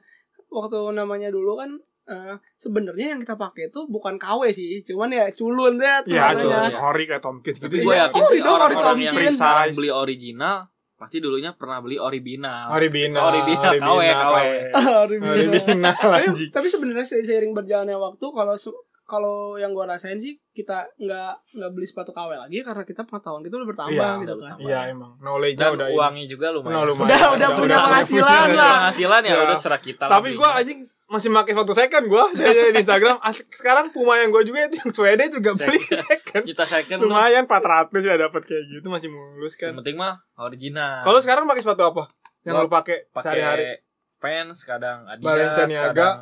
Speaker 1: waktu namanya dulu kan eh, sebenarnya yang kita pakai itu bukan KW sih, cuman ya culun deh
Speaker 3: Iya,
Speaker 2: Namanya.
Speaker 3: itu
Speaker 1: <laughs> namanya.
Speaker 2: culun.
Speaker 3: Ori kayak Tomkins gitu.
Speaker 2: Tapi gue
Speaker 3: ya.
Speaker 2: yakin
Speaker 1: Oh,
Speaker 2: sih
Speaker 1: itu
Speaker 2: orang-orang
Speaker 1: ori
Speaker 2: yang
Speaker 1: Tomkins.
Speaker 2: sekarang
Speaker 3: Precise.
Speaker 2: beli original pasti dulunya pernah beli original.
Speaker 3: Ori Bina,
Speaker 2: Ori Bina, KW, KW.
Speaker 1: Ah, Ori
Speaker 3: Ori
Speaker 1: Bina.
Speaker 3: Bina
Speaker 1: <laughs> Tapi,
Speaker 3: lanjut.
Speaker 1: tapi sebenarnya se- seiring berjalannya waktu kalau su- kalau yang gua rasain sih kita nggak nggak beli sepatu KW lagi karena kita pengetahuan kita udah bertambah
Speaker 3: Iya,
Speaker 1: gitu
Speaker 2: udah
Speaker 1: kan.
Speaker 2: bertambah.
Speaker 3: Iya emang knowledge
Speaker 2: Dan
Speaker 3: udah
Speaker 2: uangnya juga lumayan.
Speaker 3: Nah, lumayan.
Speaker 1: Udah udah punya
Speaker 2: udah.
Speaker 1: penghasilan
Speaker 2: Udah
Speaker 1: lah.
Speaker 2: penghasilan ya,
Speaker 3: Iya.
Speaker 2: udah serah kita.
Speaker 3: Tapi
Speaker 2: lah.
Speaker 3: gue anjing masih pakai sepatu second gue di Instagram. Asli, sekarang Puma yang gue juga yang Swede juga beli second.
Speaker 2: kita
Speaker 1: Iya,
Speaker 2: second lu.
Speaker 3: Lumayan 400 ya dapat kayak gitu masih mulus
Speaker 2: Yang
Speaker 3: kan.
Speaker 2: penting mah original.
Speaker 3: Kalau sekarang pakai sepatu apa? Yang
Speaker 2: Gua
Speaker 3: lu pakai sehari-hari?
Speaker 2: pakai pants kadang Adidas,
Speaker 3: Balenciaga.
Speaker 2: kadang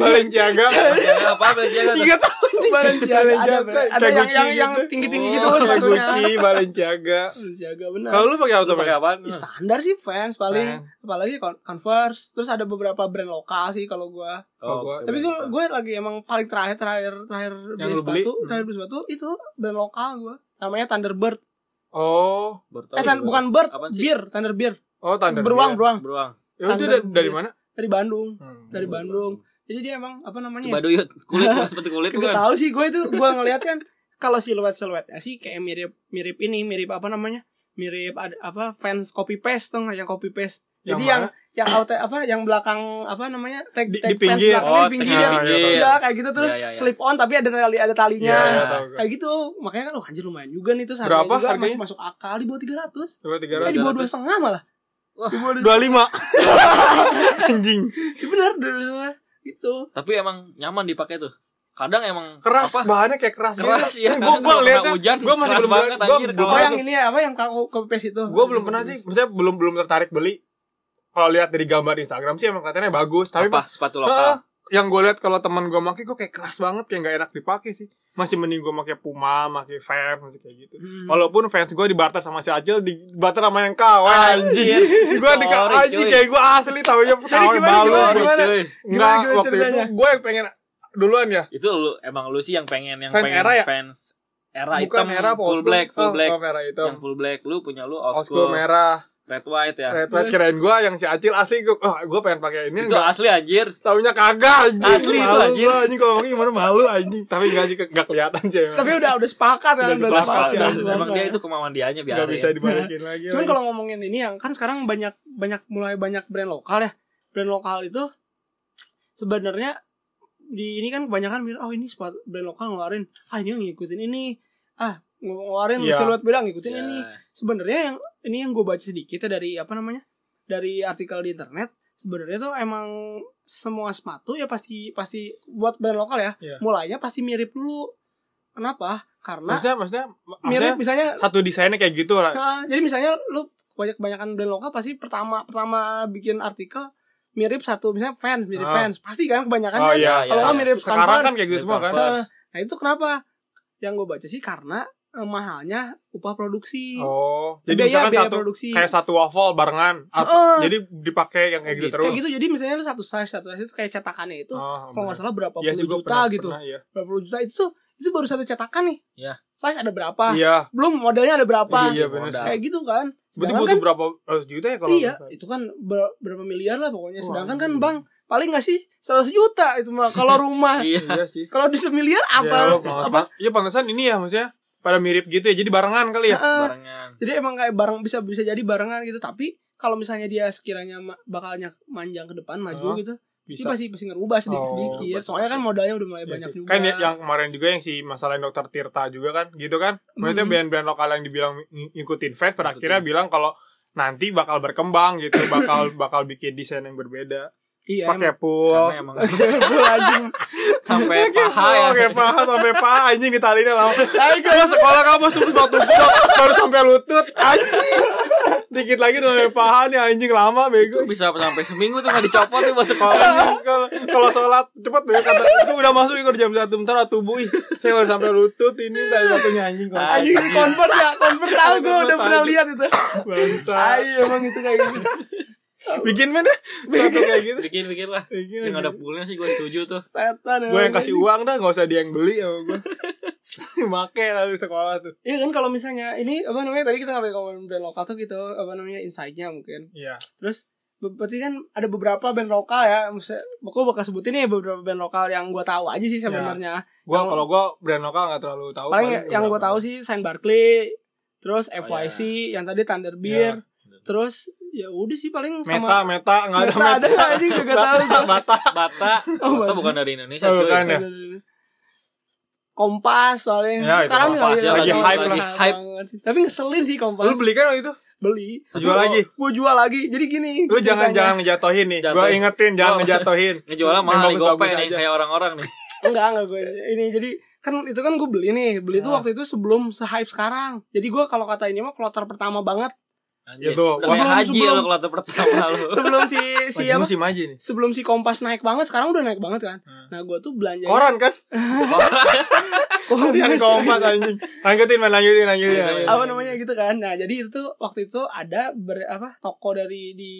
Speaker 1: Balenciaga.
Speaker 3: <laughs> Balenciaga.
Speaker 2: Balenciaga apa Balenciaga?
Speaker 3: Tiga <laughs> tahun juga.
Speaker 1: Balenciaga ada, Bre. Ada
Speaker 3: Kayak
Speaker 1: yang
Speaker 3: Gucci
Speaker 1: yang, yang
Speaker 3: gitu.
Speaker 1: tinggi-tinggi gitu
Speaker 2: Oh,
Speaker 1: kan
Speaker 3: Kayak
Speaker 1: sepatunya.
Speaker 3: Gucci, Balenciaga.
Speaker 1: Balenciaga benar.
Speaker 3: Kalau lu Nah. pakai apa
Speaker 2: Lu
Speaker 3: tuh?
Speaker 2: pakai Nah,
Speaker 3: Bang?
Speaker 2: apa?
Speaker 1: Ih, Ya, standar sih fans paling apalagi Con- Converse terus ada beberapa brand lokal sih kalau gua
Speaker 3: Oh, gua-
Speaker 1: tapi gue gue lagi emang paling terakhir terakhir terakhir
Speaker 3: Yang
Speaker 1: beli
Speaker 3: lu beli?
Speaker 1: sepatu
Speaker 3: Hmm.
Speaker 1: terakhir beli sepatu itu brand lokal gua namanya Thunderbird
Speaker 3: Oh,
Speaker 1: eh Thun- bukan bird
Speaker 2: Apaan sih?
Speaker 1: beer Thunderbird
Speaker 3: oh tanda.
Speaker 1: beruang beruang
Speaker 2: Beruang.
Speaker 3: Ya, itu dari, dari mana?
Speaker 1: dari Bandung
Speaker 3: Hmm.
Speaker 1: dari Bandung jadi dia emang apa namanya
Speaker 2: Coba
Speaker 1: ya?
Speaker 2: duyut kulit bukan seperti kulit
Speaker 1: Gak
Speaker 2: bukan.
Speaker 1: tahu sih gue itu gue ngeliat kan kalau siluet siluetnya sih kayak mirip mirip ini mirip apa namanya mirip ada, apa fans copy paste tuh nggak? yang copy paste
Speaker 3: Yang
Speaker 1: jadi yang
Speaker 3: mana?
Speaker 1: yang out apa yang belakang apa namanya tag
Speaker 3: Di-
Speaker 1: tag
Speaker 3: di pinggir.
Speaker 1: fans belakangnya
Speaker 2: Oh,
Speaker 1: di pinggir
Speaker 2: tengah
Speaker 1: ya,
Speaker 2: pinggir.
Speaker 1: Ya, kayak gitu terus
Speaker 2: Ya, ya, ya.
Speaker 1: slip on tapi ada tali ada talinya
Speaker 3: Iya,
Speaker 2: Ya.
Speaker 3: tahu gua.
Speaker 1: kayak gitu makanya kan oh anjir lumayan juga nih terus harganya
Speaker 3: Berapa
Speaker 1: juga
Speaker 3: harganya?
Speaker 1: masih masuk akal di bawah 300
Speaker 3: Coba tiga
Speaker 1: eh di bawah dua
Speaker 2: 300.
Speaker 1: setengah malah di bawah dua
Speaker 3: dua <laughs> lima anjing
Speaker 1: ya, bener dua setengah gitu
Speaker 2: Tapi emang nyaman dipakai tuh. Kadang emang
Speaker 3: keras
Speaker 2: apa?
Speaker 3: bahannya kayak keras,
Speaker 2: Keras
Speaker 3: gitu. gue
Speaker 2: ya. Kadang
Speaker 3: gue
Speaker 2: kalau
Speaker 3: lihat
Speaker 2: kena hujan,
Speaker 3: gue masih
Speaker 2: keras
Speaker 3: belum
Speaker 2: banget,
Speaker 3: gue
Speaker 2: anjir,
Speaker 3: belum
Speaker 1: apa
Speaker 2: kalau- Apa
Speaker 1: yang ini ya apa yang kau copy paste itu
Speaker 3: gue belum pernah sih maksudnya belum belum tertarik beli kalau lihat dari gambar di Instagram sih emang katanya bagus tapi
Speaker 2: apa
Speaker 3: pas
Speaker 2: sepatu lokal.
Speaker 3: Ah, yang gue lihat kalau teman gue pakai gue kayak keras banget kayak nggak enak dipakai sih masih mending gue pakai Puma pakai Vans masih kayak gitu
Speaker 1: Hmm.
Speaker 3: Walaupun fans gue dibarter sama si Acil Dibarter sama yang kawan
Speaker 2: Anjir.
Speaker 3: Anjing Gue di
Speaker 2: Sorry,
Speaker 3: anjing
Speaker 2: cuy.
Speaker 3: kayak gue asli ya. Taunya kawan
Speaker 1: gimana,
Speaker 3: balu
Speaker 1: gimana,
Speaker 2: Sorry,
Speaker 1: gimana?
Speaker 2: cuy.
Speaker 3: Enggak
Speaker 1: Gimana, gimana
Speaker 3: waktu itu
Speaker 1: ceritanya?
Speaker 3: Gue yang pengen Duluan ya
Speaker 2: Itu lu emang lu sih yang pengen yang
Speaker 3: Fans
Speaker 2: pengen
Speaker 3: era ya?
Speaker 2: fans era
Speaker 3: Bukan
Speaker 2: hitam,
Speaker 3: merah apa
Speaker 2: full
Speaker 3: old school?
Speaker 2: black, full
Speaker 3: Oh,
Speaker 2: black.
Speaker 3: oh, merah hitam.
Speaker 2: Yang full black lu punya lu
Speaker 3: Old
Speaker 2: old
Speaker 3: school
Speaker 2: school,
Speaker 3: merah.
Speaker 2: red white ya.
Speaker 3: Red White keren gua yang si Acil asli gua, wah gua pengen pakai ini
Speaker 2: Itu
Speaker 3: enggak
Speaker 2: asli anjir.
Speaker 3: taunya kagak anjing.
Speaker 2: Asli itu,
Speaker 3: Malu
Speaker 2: anjing.
Speaker 3: gua, anjing kalau ngomongin gimana malu anjing. Tapi enggak sih enggak kelihatan sih. emang.
Speaker 1: tapi udah udah sepakat kan
Speaker 3: Udah
Speaker 1: udah
Speaker 3: sepakat,
Speaker 1: sepakat,
Speaker 3: ya.
Speaker 1: udah sepakat.
Speaker 2: Emang dia itu kemauan dianya biar. ya.
Speaker 3: enggak bisa dibalikin lagi.
Speaker 1: cuman
Speaker 3: lagi.
Speaker 1: kalau ngomongin ini yang kan sekarang banyak banyak mulai banyak brand lokal ya brand lokal itu sebenarnya di ini kan kebanyakan bilang oh ini sepatu brand lokal ngeluarin ah ini yang ngikutin ini ah ngu- ngeluarin
Speaker 3: Iya.
Speaker 1: siluet beda ngikutin
Speaker 2: Ya.
Speaker 1: ini sebenarnya yang ini yang gue baca sedikit ya dari apa namanya dari artikel di internet sebenarnya tuh emang semua sepatu ya pasti pasti buat brand lokal ya
Speaker 3: Iya.
Speaker 1: mulainya pasti mirip dulu kenapa karena
Speaker 3: maksudnya maksudnya
Speaker 1: mirip
Speaker 3: maksudnya
Speaker 1: misalnya
Speaker 3: satu desainnya kayak gitu lah.
Speaker 1: Nah, jadi misalnya lu banyak kebanyakan brand lokal pasti pertama pertama bikin artikel mirip satu misalnya fans mirip
Speaker 3: Ah.
Speaker 1: fans pasti kan kebanyakan
Speaker 3: Oh
Speaker 1: kan. kalau
Speaker 3: iya. iya,
Speaker 1: nggak
Speaker 3: iya.
Speaker 1: mirip
Speaker 3: sekarang kan
Speaker 1: Converse.
Speaker 3: kayak gitu
Speaker 2: Nah, Mirip
Speaker 3: semua kan.
Speaker 2: Converse.
Speaker 1: nah itu kenapa yang gue baca sih karena eh, mahalnya upah produksi
Speaker 3: Oh, jadi
Speaker 1: biaya
Speaker 3: misalkan
Speaker 1: biaya
Speaker 3: satu
Speaker 1: produksi
Speaker 3: kayak satu waffle barengan. Apa-
Speaker 1: Heeh.
Speaker 3: Jadi dipakai yang kayak gitu
Speaker 2: Kayak
Speaker 3: terus.
Speaker 1: kayak gitu jadi misalnya lu satu size satu size itu kayak cetakannya itu
Speaker 3: Oh,
Speaker 1: kalau nggak salah berapa
Speaker 3: Iya sih,
Speaker 1: puluh
Speaker 3: gua
Speaker 1: juta
Speaker 3: pernah-
Speaker 1: gitu
Speaker 3: pernah, Iya.
Speaker 1: berapa puluh juta itu tuh- itu baru satu cetakan nih
Speaker 2: Iya.
Speaker 1: size ada berapa
Speaker 3: Iya.
Speaker 1: belum modelnya ada berapa
Speaker 3: Iya, bener sih.
Speaker 1: kayak gitu kan
Speaker 3: Berarti
Speaker 1: Sedangkan
Speaker 3: butuh berapa ratus juta ya kalau
Speaker 1: iya, itu kan ber- berapa miliar lah pokoknya.
Speaker 3: Wah,
Speaker 1: Sedangkan
Speaker 3: anjing.
Speaker 1: kan bang paling nggak sih 100 juta itu mah
Speaker 3: <laughs>
Speaker 1: kalau rumah.
Speaker 2: Iya.
Speaker 3: Iya sih.
Speaker 1: kalau di semiliar apa?
Speaker 3: Ya, lo-
Speaker 1: apa?
Speaker 3: Iya pantesan ini ya maksudnya pada mirip gitu ya. Jadi barengan kali ya.
Speaker 1: Heeh.
Speaker 2: Barengan.
Speaker 1: jadi emang kayak barang bisa bisa jadi barengan gitu. Tapi kalau misalnya dia sekiranya ma- bakalnya manjang ke depan maju
Speaker 3: Ah,
Speaker 1: gitu, dia
Speaker 3: Bisa.
Speaker 1: pasti pasti ngerubah sedikit
Speaker 3: Oh,
Speaker 1: sedikit.
Speaker 2: pasti,
Speaker 1: Soalnya kan modalnya udah
Speaker 2: Eh,
Speaker 1: mulai
Speaker 3: Iya
Speaker 1: banyak
Speaker 3: sih.
Speaker 1: juga.
Speaker 3: Kan ya- yang kemarin juga yang si masalahin dokter Tirta juga kan, gitu kan. Maksudnya
Speaker 1: Hmm.
Speaker 3: band-band lokal yang dibilang ng- ngikutin fans pada
Speaker 2: Ngikutin.
Speaker 3: akhirnya bilang kalau nanti bakal berkembang gitu, bakal <laughs> bakal bikin desain yang berbeda.
Speaker 1: iya, emang.
Speaker 3: Pakai pool,
Speaker 2: Karena emang
Speaker 1: Gua anjing.
Speaker 2: <laughs> sampai paha
Speaker 3: Oh,
Speaker 2: ya.
Speaker 3: Pakai paha sampai paha anjing ditalinnya lama. Ayo sekolah kamu terus waktu gua baru sampai lutut. Anjing. Dikit lagi udah sampai paha nih anjing lama bego.
Speaker 2: Itu bisa sampai seminggu tuh nggak dicopot tuh buat sekolah.
Speaker 3: Anjing, kalau- kalau sholat cepet deh kata itu udah masuk ikut jam satu bentar lah tubuh ih saya udah sampai lutut ini tadi satunya anjing kok
Speaker 1: Anjing convert
Speaker 3: <laughs>
Speaker 1: ya, convert tahu gue udah pernah lihat itu.
Speaker 3: Nah. bangsa
Speaker 1: Ayo emang itu kayak
Speaker 3: <laughs>
Speaker 1: gitu.
Speaker 3: bikin mana satu kayak gitu
Speaker 2: Bikin-bikin lah.
Speaker 3: Bikin
Speaker 2: Yang
Speaker 3: aja.
Speaker 2: ada poolnya sih gue setuju tuh.
Speaker 1: Setan.
Speaker 3: gue yang
Speaker 1: emang.
Speaker 3: kasih uang dah nggak usah dia yang beli sama gue <laughs> make lalu sekolah tuh
Speaker 1: Iya kan kalau misalnya ini apa namanya tadi kita ngomongin ngomongin brand lokal tuh gitu apa namanya insight-nya mungkin.
Speaker 3: iya
Speaker 1: Terus be- berarti kan ada beberapa band lokal ya. Maksudnya aku bakal sebutin nih beberapa band lokal yang gue tahu aja
Speaker 3: Ya.
Speaker 1: sih sebenarnya.
Speaker 3: gue
Speaker 1: Yang-
Speaker 3: kalau gue brand lokal nggak terlalu tahu
Speaker 1: Paling yang gue tahu sih Saint Barkley, terus
Speaker 3: ya.
Speaker 2: Oh,
Speaker 1: FYC, yang tadi Thunder Beer, terus ya udah sih paling
Speaker 3: meta
Speaker 1: sama
Speaker 3: meta nggak ada
Speaker 1: Meta
Speaker 3: <laughs>
Speaker 1: ada nggak? Anjing juga nggak tahu
Speaker 3: Bata, bata
Speaker 2: Bata,
Speaker 1: Oh,
Speaker 2: Bata
Speaker 1: Bata.
Speaker 2: bukan dari Indonesia
Speaker 3: Oh,
Speaker 2: cuy.
Speaker 3: bukan. ya?
Speaker 1: kompas soalnya
Speaker 3: Ya, itu
Speaker 1: sekarang
Speaker 3: Kompas ya, lagi hype
Speaker 1: lagi
Speaker 2: lah.
Speaker 1: hype banget sih. tapi ngeselin sih kompas
Speaker 3: Lu beli kan waktu itu?
Speaker 1: beli
Speaker 3: Lu jual lagi?
Speaker 1: gue jual lagi jadi gini
Speaker 3: Lu
Speaker 1: ceritanya.
Speaker 3: jangan jangan ngejatohin nih. Gua
Speaker 2: Jatohin.
Speaker 3: ingetin jangan
Speaker 2: Gua-
Speaker 3: ngejatohin.
Speaker 2: Ngejualnya
Speaker 3: Yang
Speaker 2: mahal di
Speaker 3: bagus-bagus
Speaker 2: GoPay nih
Speaker 3: aja.
Speaker 2: kayak orang-orang nih.
Speaker 1: enggak enggak gue ini jadi kan itu kan gue beli nih beli itu
Speaker 2: Ah.
Speaker 1: waktu itu sebelum se-hype sekarang jadi gue kalau kata ini mah kloter pertama banget
Speaker 2: Anjir.
Speaker 3: Gitu.
Speaker 2: Udah kayak
Speaker 1: Sebelum-
Speaker 2: haji
Speaker 1: sebelum-
Speaker 2: lo kalau tuh pertama lo.
Speaker 1: sebelum
Speaker 3: <laughs>
Speaker 1: si si
Speaker 3: Lagi
Speaker 1: apa
Speaker 3: musim aja nih.
Speaker 1: sebelum si kompas naik banget sekarang udah naik banget kan
Speaker 3: Hmm.
Speaker 1: nah gue tuh belanja
Speaker 3: Koran kan?
Speaker 1: <laughs> Kompas.
Speaker 3: Koran
Speaker 2: Iya,
Speaker 3: kompas anjing. Lanjutin, man, lanjutin, lanjutin. Iya.
Speaker 2: Apa
Speaker 1: apa namanya gitu kan nah jadi itu tuh waktu itu ada ber, apa toko dari di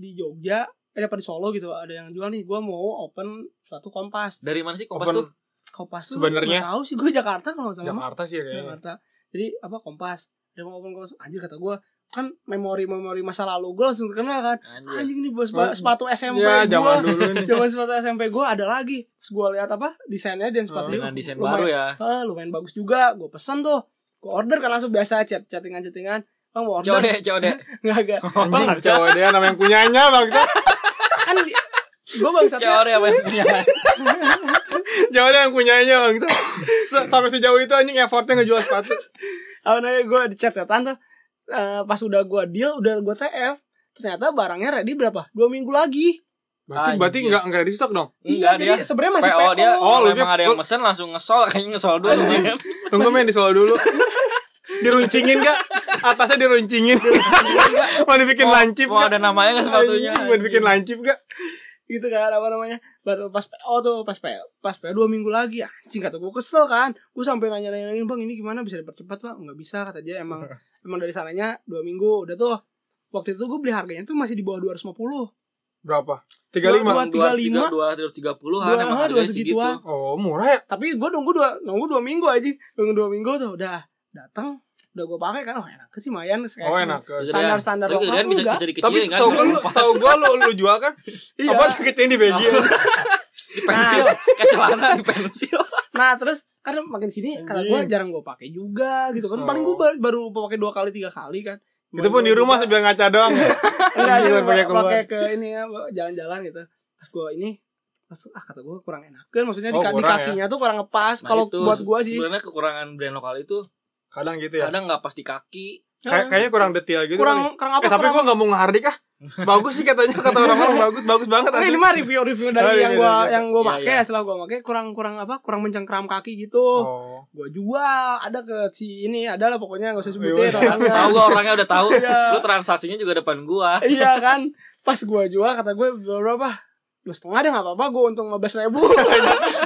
Speaker 1: di Jogja eh apa di Solo gitu ada yang jual nih gue mau open suatu kompas
Speaker 2: Dari mana sih kompas
Speaker 3: Open
Speaker 2: tuh?
Speaker 1: kompas tuh
Speaker 3: Sebenarnya-
Speaker 1: nggak tahu sih gue Jakarta kalau nggak salah
Speaker 3: Jakarta sih ya, kayaknya.
Speaker 1: Jakarta. Jadi apa kompas. Dia mau open kompas. Anjir kata gue kan memori-memori masa lalu gue langsung terkenal kan.
Speaker 2: Anjir.
Speaker 1: Anjing ini bos ba- sepatu SMP gua.
Speaker 3: Ya, zaman dulu nih.
Speaker 1: <laughs> Zaman sepatu SMP gue ada lagi. Terus gue lihat apa desainnya dan sepatu
Speaker 2: Dengan desain baru ya.
Speaker 1: Ah, lumayan bagus juga. Gue pesan tuh. Gue order kan langsung biasa chat chattingan-chattingan. Bang mau
Speaker 2: Coba
Speaker 1: order
Speaker 2: deh, coba deh.
Speaker 1: <laughs> nggak agak.
Speaker 2: <laughs>
Speaker 3: Anjing, cowok dia namanya yang punyanya bang.
Speaker 1: Kan gue bangsatnya
Speaker 2: Coba deh apa yang
Speaker 3: Cowok dia yang punyanya bang. Se- Sampai sejauh itu anjing effortnya ngejual sepatu.
Speaker 1: apa namanya gue di chat ya tante Eh, pas udah gue deal udah gue TF ternyata barangnya ready berapa dua minggu lagi
Speaker 3: Berarti
Speaker 2: Anjing.
Speaker 3: berarti enggak enggak di stok dong.
Speaker 1: iya
Speaker 2: Enggak,
Speaker 1: jadi
Speaker 2: dia
Speaker 1: sebenarnya masih
Speaker 2: PO dia.
Speaker 3: Oh,
Speaker 2: Oh,
Speaker 3: lu dia-
Speaker 2: emang ada yang mesen langsung ngesol kayaknya ngesol dulu. kan?
Speaker 3: Tunggu men di Solo dulu. Diruncingin gak? Atasnya diruncingin. Mau dibikin lancip
Speaker 2: Mau
Speaker 3: gak?
Speaker 2: ada namanya nggak sepatunya?
Speaker 3: Anjing, Mau dibikin lancip gak?
Speaker 1: gitu kan apa namanya baru pas PO tuh pas PO pas PO dua minggu lagi anjing kata gue kesel kan gue sampai nanya nanya nanya bang ini gimana bisa dipercepat bang nggak bisa kata dia
Speaker 3: <laughs>
Speaker 1: emang emang dari sananya dua minggu udah tuh waktu itu gue beli harganya tuh masih di bawah 250
Speaker 3: Berapa? 35.
Speaker 1: Dua-
Speaker 2: dua
Speaker 1: 235.
Speaker 2: dua tiga puluhan
Speaker 1: Dua- dua
Speaker 2: emang
Speaker 1: ah.
Speaker 2: harganya segitu.
Speaker 1: segituan.
Speaker 3: Oh, murah ya.
Speaker 1: tapi gue nunggu dua nunggu dua minggu aja nunggu dua minggu tuh udah datang udah gue pakai kan oh enak sih mayan kayak
Speaker 3: Oh,
Speaker 1: sih.
Speaker 3: enak.
Speaker 1: Standar-standar
Speaker 2: Tapi
Speaker 1: lokal
Speaker 2: gedean bisa
Speaker 1: enggak.
Speaker 2: bisa dikecilin
Speaker 3: Tapi
Speaker 2: kan.
Speaker 3: setahu gue lu, setahu gue lu, lu jual kan?
Speaker 1: iya
Speaker 3: Apa kecilin di begi?
Speaker 2: di pensil, <laughs> kayak celana di pensil.
Speaker 1: <laughs> nah terus kan makin sini karena gue
Speaker 3: Anjing.
Speaker 1: jarang gue pakai juga gitu kan paling gue
Speaker 3: Oh.
Speaker 1: baru, baru pakai dua kali tiga kali kan
Speaker 3: Itu pun di rumah sambil ngaca doang.
Speaker 1: Iya.
Speaker 3: <laughs> ya?
Speaker 1: Enggak,
Speaker 3: Anjing,
Speaker 1: dia
Speaker 3: baru pakai
Speaker 1: iya. pakai
Speaker 3: keluar.
Speaker 1: ke ini ya jalan-jalan gitu pas gue ini pas, ah kata gue kurang enak kan maksudnya di,
Speaker 3: Oh,
Speaker 1: ka- di
Speaker 3: kurang ya.
Speaker 1: kakinya tuh kurang ngepas
Speaker 2: Nah,
Speaker 1: kalau
Speaker 2: itu
Speaker 1: buat gue sih
Speaker 2: Sebenarnya kekurangan brand lokal itu
Speaker 3: Kadang gitu ya.
Speaker 2: kadang nggak pas di kaki.
Speaker 3: Kay- kayaknya kurang detail gitu.
Speaker 1: kurang
Speaker 3: kali.
Speaker 1: kurang apa
Speaker 3: Eh, tapi
Speaker 1: kurang
Speaker 3: gue gak mau ngehardik
Speaker 1: <laughs>
Speaker 3: ah. Bagus sih katanya kata orang-orang bagus, bagus banget
Speaker 1: Nah, ini
Speaker 3: asli.
Speaker 1: mah review-review dari
Speaker 3: Oh, iya,
Speaker 1: yang
Speaker 3: iya,
Speaker 1: gue
Speaker 3: iya.
Speaker 1: yang gue
Speaker 2: Iya,
Speaker 1: pakai
Speaker 2: iya.
Speaker 1: setelah gue pakai kurang kurang apa kurang mencengkram kaki gitu
Speaker 3: Oh.
Speaker 1: gue jual ada ke si ini adalah pokoknya gak usah
Speaker 3: Iya,
Speaker 1: sebutin
Speaker 3: iya. <laughs>
Speaker 1: orangnya.
Speaker 2: Tahu gua orangnya udah tahu.
Speaker 1: Iya.
Speaker 2: Lu transaksinya juga depan gua.
Speaker 1: iya kan pas gue jual kata gue berapa dua setengah deh nggak apa-apa gue untung 15 ribu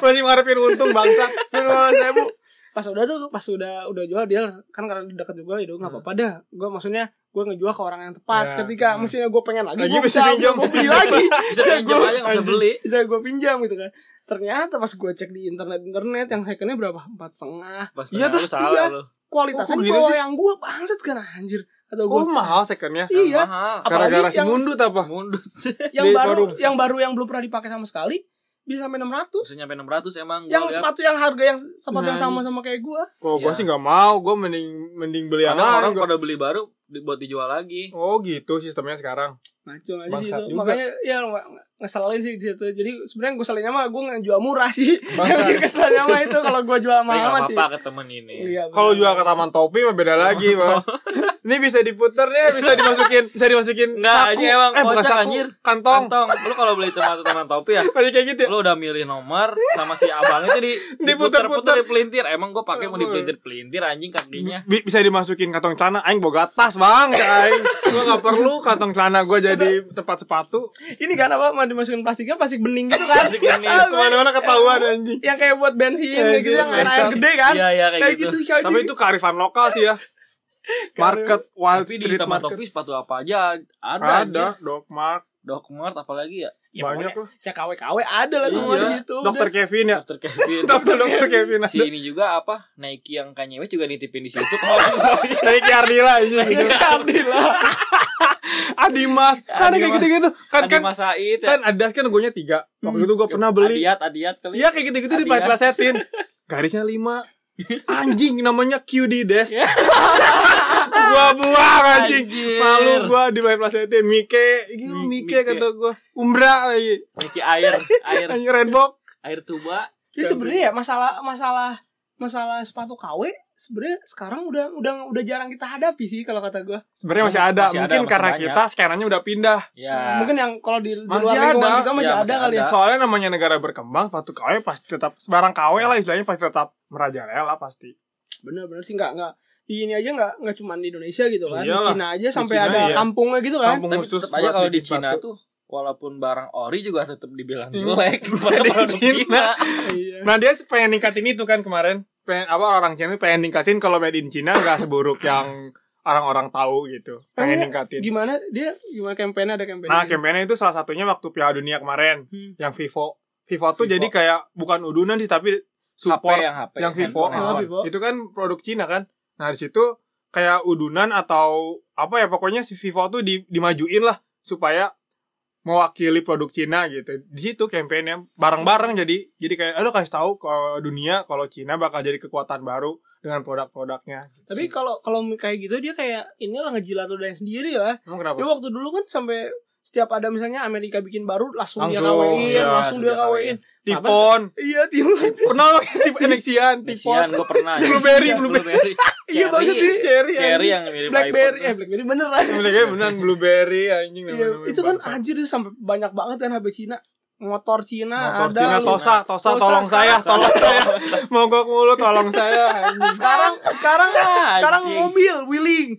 Speaker 3: Masih mengharapin untung bangsat.
Speaker 1: ribu pas udah tuh pas udah udah jual dia kan karena dekat juga ya udah nggak apa-apa dah gue maksudnya gue ngejual ke orang yang tepat
Speaker 3: Hmm. Ya,
Speaker 1: ketika
Speaker 3: hmm.
Speaker 1: maksudnya gue pengen lagi
Speaker 3: Lagi
Speaker 1: gue
Speaker 3: bisa
Speaker 1: bisa
Speaker 3: pinjam.
Speaker 1: gue beli lagi <laughs>
Speaker 2: Bisa pinjam aja nggak bisa beli.
Speaker 1: bisa gue pinjam gitu kan ternyata pas gue cek di internet internet yang secondnya berapa empat setengah
Speaker 2: Pas
Speaker 3: Iya
Speaker 2: ternyata
Speaker 3: tuh,
Speaker 2: lu salah
Speaker 1: iya.
Speaker 2: lu.
Speaker 1: kualitasnya
Speaker 3: Oh, kok
Speaker 1: di
Speaker 3: gitu
Speaker 1: bawah
Speaker 3: sih?
Speaker 1: yang gue bangsat kan anjir atau gue
Speaker 3: <laughs> Oh, mahal secondnya.
Speaker 1: iya
Speaker 2: Mahal.
Speaker 1: Apalagi
Speaker 3: Gara-gara si
Speaker 1: yang-
Speaker 3: mundut apa?
Speaker 2: Mundut.
Speaker 1: yang
Speaker 3: Beli
Speaker 1: baru
Speaker 3: baru.
Speaker 1: yang baru yang belum pernah dipakai sama sekali bisa sampai 600
Speaker 2: Bisa nyampe 600 emang gua
Speaker 1: yang
Speaker 2: lihat.
Speaker 1: sepatu yang harga yang sepatu yang
Speaker 3: ya. Nice.
Speaker 1: sama sama kayak gue
Speaker 3: Kok gue
Speaker 2: Iya.
Speaker 3: sih gak mau, gue mending mending beli yang
Speaker 2: Kadang orang
Speaker 3: lain. Iya, gua.
Speaker 2: pada beli baru di- buat dijual lagi.
Speaker 3: Oh gitu sistemnya sekarang.
Speaker 1: Maco aja sih
Speaker 3: Bangsat
Speaker 1: itu.
Speaker 3: juga.
Speaker 1: Makanya ya nge- ngeselin sih di situ. Jadi sebenarnya gue selinnya mah gue ngejual murah sih.
Speaker 3: Bangsat.
Speaker 1: Yang <laughs> bikin keselnya mah itu kalau gue jual
Speaker 2: Tapi
Speaker 1: mahal
Speaker 2: nggak
Speaker 1: mah sih.
Speaker 2: apa-apa ke temen ini.
Speaker 1: Iya.
Speaker 3: Kalau
Speaker 1: bener.
Speaker 3: jual ke taman topi mah beda lagi,
Speaker 2: Oh.
Speaker 3: Bang. Ini bisa diputer deh, bisa dimasukin, bisa dimasukin
Speaker 2: Nggak, anjing, emang
Speaker 3: eh bukan
Speaker 2: kocak,
Speaker 3: saku,
Speaker 2: anjir.
Speaker 3: kantong.
Speaker 2: Kantong, lu kalau beli teman-teman topi
Speaker 3: <laughs>
Speaker 2: ya,
Speaker 3: Masih kayak gitu ya.
Speaker 2: lu udah milih nomor sama si abang itu
Speaker 3: <laughs>
Speaker 2: di
Speaker 3: Diputer-puter.
Speaker 2: diputer-puter dipelintir. Emang gua pakai mau dipelintir-pelintir anjing
Speaker 3: <laughs>
Speaker 2: kakinya.
Speaker 3: Bi- bisa dimasukin kantong celana aing boga tas, Bang. Aing gua nggak perlu kantong celana gua jadi tempat sepatu.
Speaker 1: Ini kan apa mau dimasukin plastiknya plastik bening gitu kan.
Speaker 2: Plastik bening.
Speaker 1: Ah, gue-
Speaker 3: Kemana-mana ketahuan anjing.
Speaker 1: yang kayak buat bensin
Speaker 3: Eh,
Speaker 1: gitu yang
Speaker 3: iya,
Speaker 1: air air
Speaker 3: bangsat.
Speaker 1: gede kan.
Speaker 2: Iya, iya kayak
Speaker 1: Kayak
Speaker 2: gitu.
Speaker 1: gitu. ya,
Speaker 3: Tapi itu kearifan lokal sih ya. Market Wild
Speaker 2: Tapi di
Speaker 3: Street
Speaker 2: taman
Speaker 3: Market.
Speaker 2: topi sepatu apa aja ada. anjing.
Speaker 3: Ada, Doc Mart,
Speaker 2: Doc Mart apalagi ya?
Speaker 1: Ya,
Speaker 3: banyak lah.
Speaker 1: Ya KW-KW ada lah semua
Speaker 3: Iya.
Speaker 1: di situ. <laughs>
Speaker 3: Dokter Kevin ya.
Speaker 2: <laughs> Dr. Kevin.
Speaker 3: <laughs> Dokter Dokter Kevin.
Speaker 2: si ini juga apa? Nike yang Kanye West juga nitipin di
Speaker 3: <laughs>
Speaker 2: situ.
Speaker 3: Kan,
Speaker 2: Kalau
Speaker 3: Dari Ardila
Speaker 1: Iya,
Speaker 3: ini.
Speaker 2: Iya.
Speaker 3: Adimas. Kan kayak
Speaker 2: Adimas.
Speaker 3: gitu-gitu. Kan
Speaker 2: Adi
Speaker 3: kan
Speaker 2: Mas Said ya.
Speaker 3: kan Adidas kan logonya tiga. Waktu itu gue pernah beli.
Speaker 2: Adiat, Adiat kali.
Speaker 3: Iya kayak gitu-gitu di
Speaker 2: Adidas. <laughs>
Speaker 3: plesetin. Garisnya lima. Anjing namanya QD Dash. <laughs> gua buang anjing.
Speaker 2: Ya. Anjir.
Speaker 3: Malu gua di plesetin. Mike, gitu
Speaker 2: Mi-
Speaker 3: Mike
Speaker 2: Mike.
Speaker 3: kata gua. Umbra lagi. <laughs>
Speaker 2: Nike air, air,
Speaker 3: Anjing Redbox.
Speaker 2: air tuba.
Speaker 3: Iya,
Speaker 1: Jadi sebenarnya ya masalah masalah masalah sepatu KW sebenarnya sekarang udah udah udah jarang kita hadapi sih kalau kata gue
Speaker 3: Sebenarnya masih ada,
Speaker 2: Masih ada,
Speaker 3: mungkin
Speaker 2: masih
Speaker 3: karena
Speaker 2: banyak.
Speaker 3: kita scannernya udah pindah.
Speaker 2: Ya.
Speaker 1: mungkin yang kalau di, di
Speaker 3: Masih
Speaker 1: luar lingkungan
Speaker 3: ada.
Speaker 1: kita Iya. masih,
Speaker 2: Ya, masih
Speaker 1: ada kali ya
Speaker 2: ada.
Speaker 3: Iya, Soalnya namanya negara berkembang, sepatu KW pasti tetap barang KW lah istilahnya pasti tetap merajalela pasti.
Speaker 1: bener-bener sih nggak nggak di ini aja nggak nggak cuma di Indonesia gitu kan di
Speaker 3: Iyalah.
Speaker 1: Cina aja sampai
Speaker 3: Cina
Speaker 1: ada
Speaker 3: iya.
Speaker 1: kampungnya gitu kan
Speaker 3: Kampung
Speaker 2: Tapi
Speaker 3: khusus
Speaker 2: tetap aja
Speaker 3: buat
Speaker 2: kalau di
Speaker 3: bikin
Speaker 2: Cina
Speaker 3: sepatu.
Speaker 2: tuh walaupun barang ori juga tetap dibilang
Speaker 3: Hmm. <laughs>
Speaker 2: jelek pada
Speaker 3: Di
Speaker 2: produk
Speaker 3: Cina.
Speaker 2: Cina.
Speaker 1: <laughs> iya
Speaker 3: Nah dia pengen ningkatin itu kan kemarin pengen, apa orang Cina tuh pengen ningkatin kalau made in Cina nggak seburuk yang orang-orang tahu gitu pengen
Speaker 1: Emangnya
Speaker 3: ningkatin
Speaker 1: gimana dia gimana kampanye ada kampanye
Speaker 3: nah kampanye itu salah satunya waktu Piala Dunia kemarin
Speaker 1: Hmm.
Speaker 3: yang Vivo Vivo tuh
Speaker 2: Vivo. ya?
Speaker 3: jadi kayak bukan udunan sih tapi support
Speaker 2: HP yang HP
Speaker 3: yang Vivo
Speaker 2: handphone,
Speaker 1: Ah,
Speaker 2: handphone.
Speaker 1: Vivo.
Speaker 3: itu kan produk Cina kan nah di situ kayak udunan atau apa ya pokoknya si Vivo tuh di- dimajuin lah supaya mewakili produk Cina gitu di situ kampanye bareng-bareng jadi jadi kayak aduh kasih tahu ke dunia kalau Cina bakal jadi kekuatan baru dengan produk-produknya
Speaker 1: tapi kalau kalau kayak gitu dia kayak inilah ngejilat ludahnya sendiri lah
Speaker 3: emang kenapa
Speaker 1: Ya waktu dulu kan sampai setiap ada misalnya Amerika bikin baru langsung, dia
Speaker 3: Langsung,
Speaker 1: kawin,
Speaker 3: iya,
Speaker 1: langsung dia
Speaker 2: langsung
Speaker 1: kawin.
Speaker 2: dia
Speaker 3: tipon
Speaker 1: Iya, timun.
Speaker 3: pernah lo tipon Nexian
Speaker 2: Nexian
Speaker 3: tipon
Speaker 2: gue
Speaker 3: <laughs>
Speaker 2: pernah ya.
Speaker 3: Blueberry, <laughs>
Speaker 2: blueberry.
Speaker 1: Iya, bagus
Speaker 2: Cherry,
Speaker 1: sih. Cherry.
Speaker 2: Cherry yang mirip
Speaker 1: Blackberry, eh
Speaker 2: iPhone.
Speaker 1: Blackberry beneran.
Speaker 3: Sebenarnya beneran blueberry anjing
Speaker 1: Iya,
Speaker 3: namanya.
Speaker 1: itu kan
Speaker 3: Bangsa.
Speaker 1: anjir itu sampai banyak banget kan HP Cina. Motor Cina
Speaker 3: Motor
Speaker 1: ada. Nah,
Speaker 3: Cina
Speaker 1: lu.
Speaker 3: Tosa, Tosa,
Speaker 1: Tosa
Speaker 3: tolong saya,
Speaker 1: sekarang.
Speaker 3: tolong saya. Mogok mulu tolong saya. anjing.
Speaker 1: Sekarang
Speaker 2: <laughs>
Speaker 1: sekarang
Speaker 2: Ah,
Speaker 1: sekarang
Speaker 2: anjing.
Speaker 1: mobil wheeling.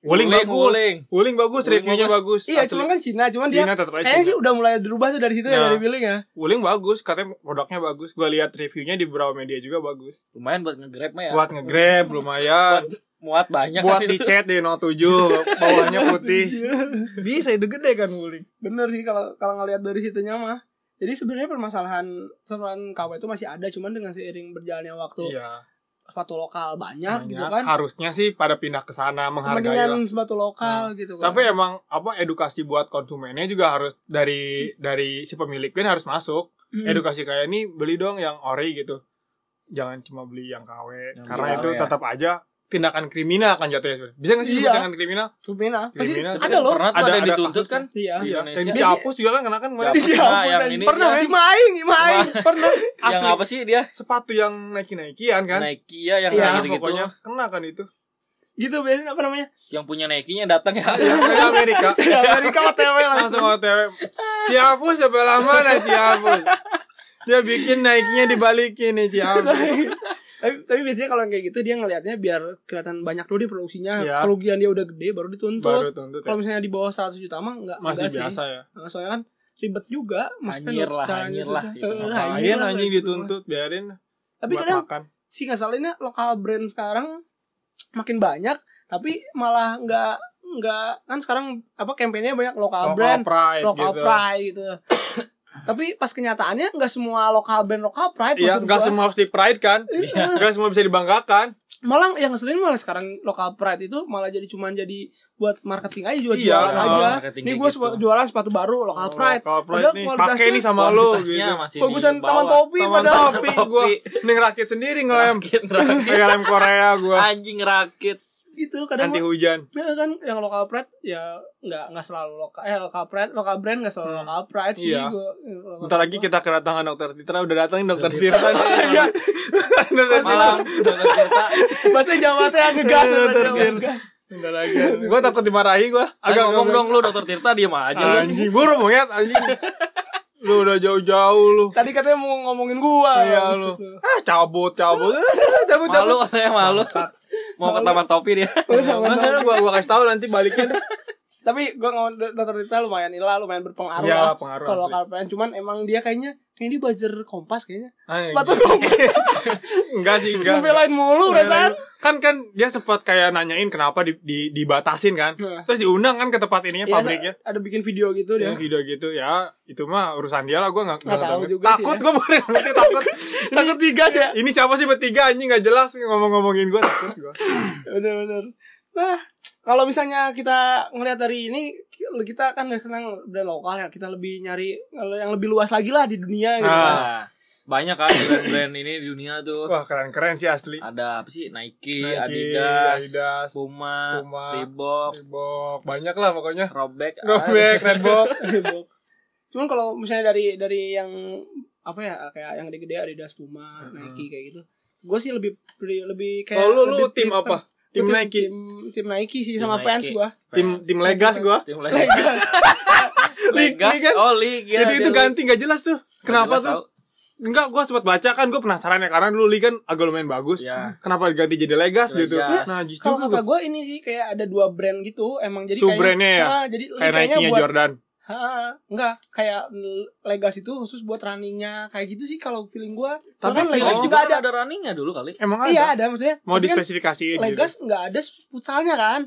Speaker 3: Wuling bagus.
Speaker 2: Wuling.
Speaker 3: Wuling bagus,
Speaker 2: Wuling
Speaker 3: reviewnya bagus.
Speaker 1: Iya,
Speaker 3: Asli.
Speaker 1: cuman kan Cina, cuman dia
Speaker 3: Cina tetap aja
Speaker 1: kayaknya sih
Speaker 3: Cina.
Speaker 1: udah mulai dirubah tuh dari situ ya
Speaker 3: Nah.
Speaker 1: dari wheeling ya.
Speaker 3: Wuling bagus, katanya produknya bagus. Gua lihat reviewnya di beberapa media juga bagus.
Speaker 2: Lumayan buat nge-grab
Speaker 1: Iya.
Speaker 2: mah ya.
Speaker 3: Buat nge-grab lumayan.
Speaker 2: Muat banyak <laughs>
Speaker 3: Buat
Speaker 2: kan
Speaker 3: di
Speaker 2: itu.
Speaker 3: chat di 07 bawahnya putih. <laughs> Bisa itu gede kan Wuling.
Speaker 1: Bener sih kalau kalau ngelihat dari situnya mah. Jadi sebenarnya permasalahan permasalahan KW itu masih ada cuman dengan seiring berjalannya waktu
Speaker 3: Iya.
Speaker 1: sepatu lokal banyak,
Speaker 3: banyak.
Speaker 1: gitu kan
Speaker 3: Harusnya sih pada pindah ke sana menghargai lah.
Speaker 1: mendingan sepatu lokal gitu kan
Speaker 3: Nah. Tapi ya, emang apa edukasi buat konsumennya juga harus dari dari si pemilik pun harus masuk.
Speaker 1: Hmm.
Speaker 3: Edukasi kayak ini beli dong yang ori gitu. Jangan cuma beli yang KW
Speaker 2: Yang
Speaker 3: karena
Speaker 2: beli
Speaker 3: itu
Speaker 2: KW ya.
Speaker 3: tetap aja tindakan kriminal kan jatuhnya. sebenarnya. Bisa nggak sih
Speaker 1: Iya.
Speaker 3: disebut tindakan kriminal?
Speaker 1: Cumina pasti
Speaker 3: Cumina.
Speaker 1: ada loh
Speaker 2: kan Pernah tuh
Speaker 3: Ada-
Speaker 2: ada, yang
Speaker 3: ada
Speaker 2: dituntut
Speaker 3: kasusnya.
Speaker 2: kan.
Speaker 1: iya
Speaker 2: Di
Speaker 1: <laughs>
Speaker 3: Iya. Yang
Speaker 2: Indonesia.
Speaker 3: dihapus juga kan kena kan kemarin.
Speaker 2: Dihapus.
Speaker 1: Iya,
Speaker 2: Nah,
Speaker 1: ampun,
Speaker 2: yang
Speaker 1: anjing.
Speaker 2: ini-
Speaker 1: pernah
Speaker 3: yang-
Speaker 1: dimain dimain
Speaker 3: Pernah
Speaker 2: Yang
Speaker 3: asli
Speaker 2: apa sih dia?
Speaker 3: sepatu yang Nike-Naikian kan?
Speaker 2: Nike ya
Speaker 1: Iya,
Speaker 2: yang kayak
Speaker 3: Nah,
Speaker 2: gitu-gitu.
Speaker 3: pokoknya kena kan itu.
Speaker 1: gitu biasanya apa namanya
Speaker 2: Yang punya Nike-nya datang ya.
Speaker 3: Dari Amerika.
Speaker 1: di Amerika OTW
Speaker 3: langsung
Speaker 1: langsung
Speaker 3: OTW. Ciapus sebelah mana Ciapus? Dia bikin naiknya dibalikin nih Ciapus.
Speaker 1: tapi, tapi biasanya kalau yang kayak gitu dia ngelihatnya biar kelihatan banyak dulu di produksinya
Speaker 3: Iya.
Speaker 1: kerugian dia udah gede baru
Speaker 3: Baru
Speaker 1: dituntut
Speaker 3: tuntut. ya.
Speaker 1: kalau misalnya di bawah 100 juta mah enggak
Speaker 3: masih
Speaker 1: enggak
Speaker 3: biasa
Speaker 1: sih.
Speaker 3: ya.
Speaker 1: Nah, soalnya kan ribet juga
Speaker 2: Anjir lah,
Speaker 1: caranya
Speaker 2: anjir
Speaker 1: gitu.
Speaker 2: lah, gitu.
Speaker 1: Eh,
Speaker 2: Ngapain
Speaker 1: anjir
Speaker 3: Lain
Speaker 1: lah,
Speaker 3: anjing
Speaker 1: gitu.
Speaker 3: dituntut biarin
Speaker 1: tapi
Speaker 3: buat
Speaker 1: kadang
Speaker 3: makan.
Speaker 1: sih kesalnya lokal brand sekarang makin banyak tapi malah nggak nggak kan sekarang apa kampanyenya banyak lokal,
Speaker 3: Local
Speaker 1: brand
Speaker 3: pride
Speaker 1: lokal
Speaker 3: gitu.
Speaker 1: pride gitu tapi pas kenyataannya nggak semua lokal brand lokal pride
Speaker 3: Iya,
Speaker 1: maksud
Speaker 3: enggak
Speaker 1: gua.
Speaker 3: semua harus di pride kan?
Speaker 1: Iya.
Speaker 3: Enggak semua bisa dibanggakan.
Speaker 1: malah yang ngeselin malah sekarang lokal pride itu malah jadi cuman jadi buat marketing aja jual
Speaker 3: Iya,
Speaker 1: jualan
Speaker 3: oh,
Speaker 1: aja
Speaker 2: marketing
Speaker 1: nih
Speaker 2: kayak
Speaker 1: gue
Speaker 2: gitu.
Speaker 1: jualan sepatu baru lokal
Speaker 3: Oh,
Speaker 1: pride
Speaker 3: Local pride
Speaker 1: Padahal
Speaker 3: nih,
Speaker 1: kualitasnya-
Speaker 3: pakai nih sama lu
Speaker 2: Kualitasnya
Speaker 3: gitu.
Speaker 2: masih di
Speaker 1: bagusan
Speaker 2: bawah.
Speaker 1: taman topi
Speaker 3: Taman
Speaker 1: padahal
Speaker 3: topi gua ning rakit sendiri ngelem.
Speaker 2: Rakit, rakit.
Speaker 3: Kayak lem Korea gua.
Speaker 2: Anjing rakit.
Speaker 1: gitu kadang
Speaker 3: Anti
Speaker 1: mah-
Speaker 3: hujan.
Speaker 1: Nah, kan yang lokal pride ya nggak nggak selalu lokal eh lokal pride lokal brand nggak selalu
Speaker 3: Hmm.
Speaker 1: lokal pride sih
Speaker 3: Iya.
Speaker 1: gua
Speaker 3: Bentar lagi kita kedatangan dokter Titra udah datangin dokter Titra. <laughs> Iya. Dokter Titra.
Speaker 2: Malam Eh, dalam
Speaker 3: <laughs>
Speaker 2: cerita
Speaker 1: <laughs> bahasa Jawa teh ngegas
Speaker 3: Iya,
Speaker 1: bahasa Jawa
Speaker 3: terbiar.
Speaker 1: ngegas.
Speaker 3: Bentar lagi. Gua takut dimarahi gua.
Speaker 2: agak ngomong
Speaker 3: agak-
Speaker 2: dong lu dokter Tirta diem aja lu.
Speaker 3: Anjing, buru monyet anjing. Lu udah jauh-jauh lu.
Speaker 1: tadi katanya mau ngomongin gua
Speaker 3: Iya lu. Ah, cabut, cabut. <laughs> Ah, cabut,
Speaker 2: Malu
Speaker 3: cabut.
Speaker 2: saya malu. Mau ke taman topi dia.
Speaker 3: Enggak sana gua gua kasih tahu nanti balikin.
Speaker 1: tapi gua ngomong do- dokter Tita lumayan ilah lumayan berpengaruh
Speaker 3: Iya,
Speaker 1: lah
Speaker 3: pengaruh
Speaker 1: kalau
Speaker 3: asli.
Speaker 1: lokal pride cuman emang dia kayaknya ini buzzer kompas kayaknya
Speaker 3: Anjing.
Speaker 1: sepatu kompas
Speaker 3: Enggak sih, enggak.
Speaker 1: ngebelain mulu
Speaker 3: Enggak,
Speaker 1: perasaan
Speaker 3: kan kan dia sempat kayak nanyain kenapa di, di- dibatasin kan
Speaker 1: Nah.
Speaker 3: terus diundang kan ke tempat ininya
Speaker 1: Iya,
Speaker 3: pabriknya
Speaker 1: ada bikin video gitu
Speaker 3: ya.
Speaker 1: dia
Speaker 3: video gitu ya itu mah urusan dia lah gue nggak
Speaker 1: Nggak tahu juga sih,
Speaker 3: takut
Speaker 1: ya.
Speaker 3: gue boleh nanti takut
Speaker 1: takut digas ya
Speaker 3: ini siapa sih bertiga anjing nggak jelas ngomong-ngomongin gue takut gue
Speaker 1: Bener-bener. Nah, kalau misalnya kita ngelihat dari ini, kita kan udah senang brand lokal ya. Kita lebih nyari yang lebih luas lagi lah di dunia gitu.
Speaker 3: <laughs> Ah.
Speaker 1: kan.
Speaker 2: Nah, banyak kan brand-brand ini di dunia tuh.
Speaker 3: wah keren keren sih asli
Speaker 2: Ada apa sih?
Speaker 3: Nike,
Speaker 2: Nike, Iya, Adidas,
Speaker 3: Adidas
Speaker 2: Puma,
Speaker 3: Puma,
Speaker 2: Reebok, Ah,
Speaker 3: Reebok banyak lah pokoknya
Speaker 2: Robek,
Speaker 3: Robek, Redbox
Speaker 1: Reebok. Cuman kalau misalnya dari dari yang apa ya kayak yang gede-gede Adidas Puma,
Speaker 3: Mm-mm.
Speaker 1: Nike kayak gitu. gue sih lebih lebih kayak
Speaker 3: Ah. Kalau lu,
Speaker 1: lebih-
Speaker 3: lu
Speaker 1: eh,
Speaker 3: tim apa?
Speaker 1: Gua
Speaker 3: Tim Nike.
Speaker 1: tim, tim Nike sih
Speaker 2: Tim
Speaker 1: sama
Speaker 2: Nike.
Speaker 1: fans gue
Speaker 3: Tim tim Legas gua.
Speaker 2: tim Legas.
Speaker 3: Legas.
Speaker 2: Legas. Oh, Liga.
Speaker 3: itu itu
Speaker 2: Dia
Speaker 3: ganti nggak jelas tuh.
Speaker 2: Liga.
Speaker 3: Kenapa
Speaker 2: Nggak
Speaker 3: tuh?
Speaker 2: tahu.
Speaker 3: Enggak, gua sempat baca kan, gua penasaran ya karena dulu Li kan agak lumayan bagus.
Speaker 2: Ya.
Speaker 3: Kenapa diganti jadi Legas
Speaker 2: Legas.
Speaker 3: gitu? Nah, justru
Speaker 1: kalau
Speaker 3: gua
Speaker 1: kata gue ini sih kayak ada dua brand gitu emang jadi
Speaker 3: Sub brandnya ya?
Speaker 1: Ah, jadi
Speaker 3: kayak
Speaker 1: kayaknya
Speaker 3: Nike-nya
Speaker 1: buat
Speaker 3: Jordan.
Speaker 1: Ah, enggak kayak Legas itu khusus buat runningnya kayak gitu sih kalau feeling gue
Speaker 3: Tapi
Speaker 1: kan Legas
Speaker 3: Legas
Speaker 1: juga ada,
Speaker 2: ada runningnya dulu kali.
Speaker 3: Emang ada?
Speaker 1: iya ada maksudnya
Speaker 3: Mau
Speaker 1: Tapi kan
Speaker 3: dispesifikasiin gitu.
Speaker 1: Legas nggak ada futsalnya kan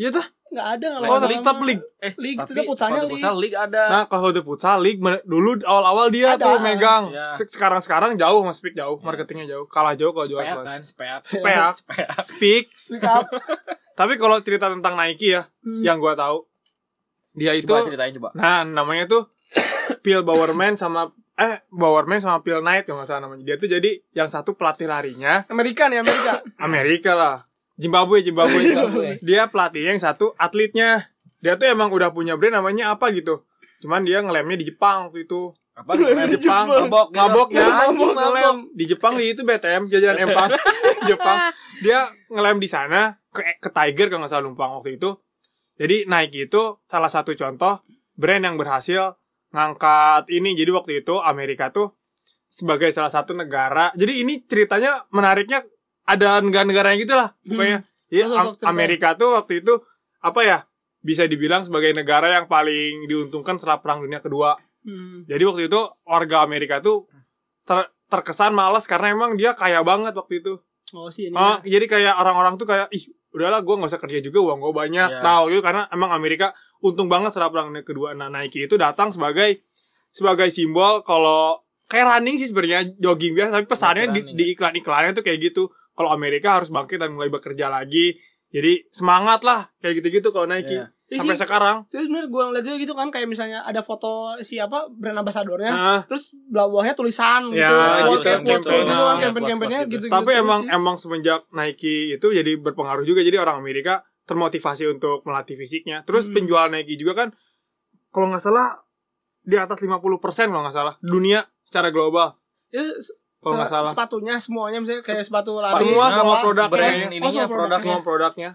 Speaker 3: Iya tuh.
Speaker 1: nggak ada kalau
Speaker 3: Oh,
Speaker 1: nggak salah.
Speaker 3: league top league.
Speaker 2: Eh,
Speaker 1: League,
Speaker 2: tapi
Speaker 1: itu futsalnya
Speaker 2: sepatu
Speaker 1: league.
Speaker 2: futsal league ada.
Speaker 3: Nah, kalau udah futsal league men- dulu awal-awal dia
Speaker 1: Ada.
Speaker 3: tuh megang.
Speaker 2: Iya.
Speaker 3: Se- Sekarang-sekarang jauh Mas Speak jauh, marketingnya jauh. Kalah jauh kalau jual
Speaker 2: Speak
Speaker 3: iklan.
Speaker 2: kan, speak.
Speaker 3: Speak, Speak.
Speaker 1: Speak up.
Speaker 3: Tapi kalau cerita tentang Nike ya,
Speaker 1: Hmm.
Speaker 3: yang gua tahu dia itu
Speaker 2: Coba ceritain coba.
Speaker 3: nah namanya tuh
Speaker 1: <coughs>
Speaker 3: Phil Bowerman sama eh Bowerman sama Phil Knight yang salah namanya. Dia tuh jadi yang satu pelatih larinya
Speaker 1: Amerika nih
Speaker 3: <laughs>
Speaker 1: Amerika
Speaker 2: Iya.
Speaker 3: Amerika lah. Zimbabwe, Zimbabwe.
Speaker 2: <laughs> Zimbabwe.
Speaker 3: dia pelatihnya yang satu atletnya. Dia tuh emang udah punya brand namanya apa gitu. Cuman dia ngelemnya di Jepang waktu itu.
Speaker 2: Apa namanya?
Speaker 3: Di Jepang.
Speaker 2: Mabok. gitu.
Speaker 3: Mabok ya,
Speaker 2: Anjing,
Speaker 3: mabok ngelem.
Speaker 2: mabok.
Speaker 3: Di Jepang di itu BTM jajanan empas Jepang. Dia ngelem di sana ke, ke Tiger kalau nggak salah numpang waktu itu. Jadi Nike itu salah satu contoh brand yang berhasil ngangkat ini. Jadi waktu itu Amerika tuh sebagai salah satu negara. Jadi ini ceritanya menariknya ada negara-negara yang gitulah pokoknya. Jadi
Speaker 1: Sosok-sosok
Speaker 3: Am-
Speaker 1: ceritanya.
Speaker 3: Amerika tuh waktu itu apa ya? Bisa dibilang sebagai negara yang paling diuntungkan setelah Perang Dunia Kedua.
Speaker 1: Hmm.
Speaker 3: Jadi waktu itu warga Amerika tuh ter- terkesan malas karena emang dia kaya banget waktu itu.
Speaker 1: oh sih ini
Speaker 2: Iya.
Speaker 3: Ah, jadi kayak orang-orang tuh kayak ih udahlah gue nggak usah kerja juga uang gue banyak.
Speaker 2: Iya.
Speaker 3: Nah waktu itu karena emang Amerika untung banget setelah perang dunia kedua. Nah Nike itu datang sebagai sebagai simbol kalau kayak running sih sebenarnya jogging biasa tapi pesannya di,
Speaker 2: Running,
Speaker 3: di iklan-iklannya tuh kayak gitu. Kalau Amerika harus bangkit dan mulai bekerja lagi. Jadi semangat lah kayak gitu-gitu kalau Nike
Speaker 2: Iya.
Speaker 1: Iya
Speaker 3: sampai
Speaker 1: sih.
Speaker 3: sekarang.
Speaker 1: Terus bener gue ngeliat juga gitu kan kayak misalnya ada foto si apa brand
Speaker 2: Iya.
Speaker 1: ambasadornya
Speaker 3: Nah,
Speaker 1: terus belah bawahnya tulisan gitu.
Speaker 3: Ya,
Speaker 1: Quote-
Speaker 3: gitu, yang
Speaker 1: quote- quote
Speaker 3: campaign.
Speaker 1: gitu kan
Speaker 3: Nah,
Speaker 1: campaign-campaignnya
Speaker 2: quotes-quotes
Speaker 1: gitu.
Speaker 3: Tapi emang emang semenjak Nike itu jadi berpengaruh juga jadi orang Amerika termotivasi untuk melatih fisiknya. Terus
Speaker 1: Hmm.
Speaker 3: penjual Nike juga kan kalau nggak salah di atas 50% kalau nggak salah dunia secara global.
Speaker 1: Terus
Speaker 3: Kalau
Speaker 1: Ya,
Speaker 3: nggak
Speaker 1: se-
Speaker 3: salah.
Speaker 1: sepatunya semuanya misalnya kayak sepatu lari.
Speaker 3: Semua
Speaker 2: Nah,
Speaker 3: semua
Speaker 2: pas
Speaker 3: produk
Speaker 2: brand
Speaker 3: kayaknya.
Speaker 1: Oh,
Speaker 2: ininya
Speaker 1: semua produknya.
Speaker 2: produknya.
Speaker 3: Semua produknya.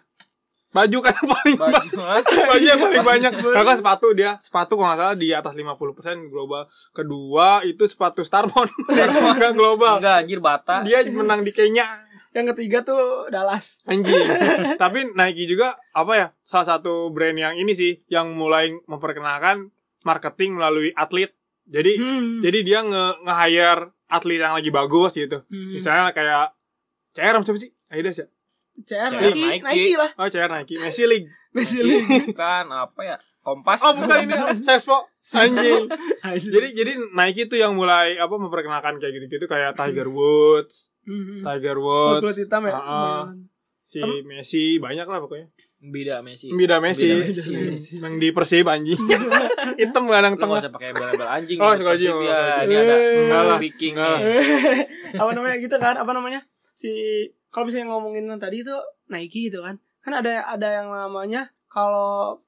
Speaker 3: Baju kan yang paling banyak.
Speaker 2: Baju.
Speaker 3: <laughs> Baju yang paling banyak. Bahkan sepatu dia, sepatu kalau nggak salah di atas 50% global. Kedua itu sepatu Starmon. <laughs> Enggak global.
Speaker 2: Enggak anjir bata.
Speaker 3: Dia menang di Kenya.
Speaker 1: Yang ketiga tuh Dallas. <laughs>
Speaker 3: Anjing. Tapi Nike juga apa ya? Salah satu brand yang ini sih yang mulai memperkenalkan marketing melalui atlet. Jadi
Speaker 1: Hmm.
Speaker 3: jadi dia nge, hire atlet yang lagi bagus gitu.
Speaker 1: Hmm.
Speaker 3: Misalnya kayak CR siapa sih? Adidas ya?
Speaker 1: CR
Speaker 2: CR,
Speaker 1: Nike,
Speaker 2: Nike.
Speaker 1: Nike lah.
Speaker 3: Oh CR Nike, Messi League.
Speaker 1: Messi
Speaker 2: Masih
Speaker 1: League.
Speaker 2: Bukan apa ya? Kompas.
Speaker 1: <laughs>
Speaker 3: Oh bukan ini Sespo. Anjing.
Speaker 1: Jadi
Speaker 3: Jadi jadi Nike itu yang mulai apa memperkenalkan kayak gitu-gitu kayak Tiger Woods, Tiger
Speaker 1: Hmm. kulit
Speaker 3: Woods,
Speaker 1: hitam ya.
Speaker 3: Ah, ah. si Messi banyak lah pokoknya.
Speaker 2: Bida Messi.
Speaker 3: Bida Messi,
Speaker 2: Bida Messi.
Speaker 3: <laughs> yang di Persib
Speaker 1: <laughs>
Speaker 3: anjing. Hitam gelandang
Speaker 2: Lu
Speaker 3: tengah.
Speaker 2: gak usah pakai bel-bel anjing.
Speaker 3: Oh,
Speaker 2: Gitu,
Speaker 3: suka anjing,
Speaker 2: sip,
Speaker 3: oh,
Speaker 2: ya.
Speaker 3: suka
Speaker 2: Ini ada
Speaker 1: anjing.
Speaker 3: Enggak lah,
Speaker 2: speaking.
Speaker 3: enggak lah.
Speaker 2: nih.
Speaker 1: apa namanya gitu kan? Apa namanya? Si kalau misalnya ngomongin yang tadi itu Nike gitu kan. Kan ada ada yang namanya kalau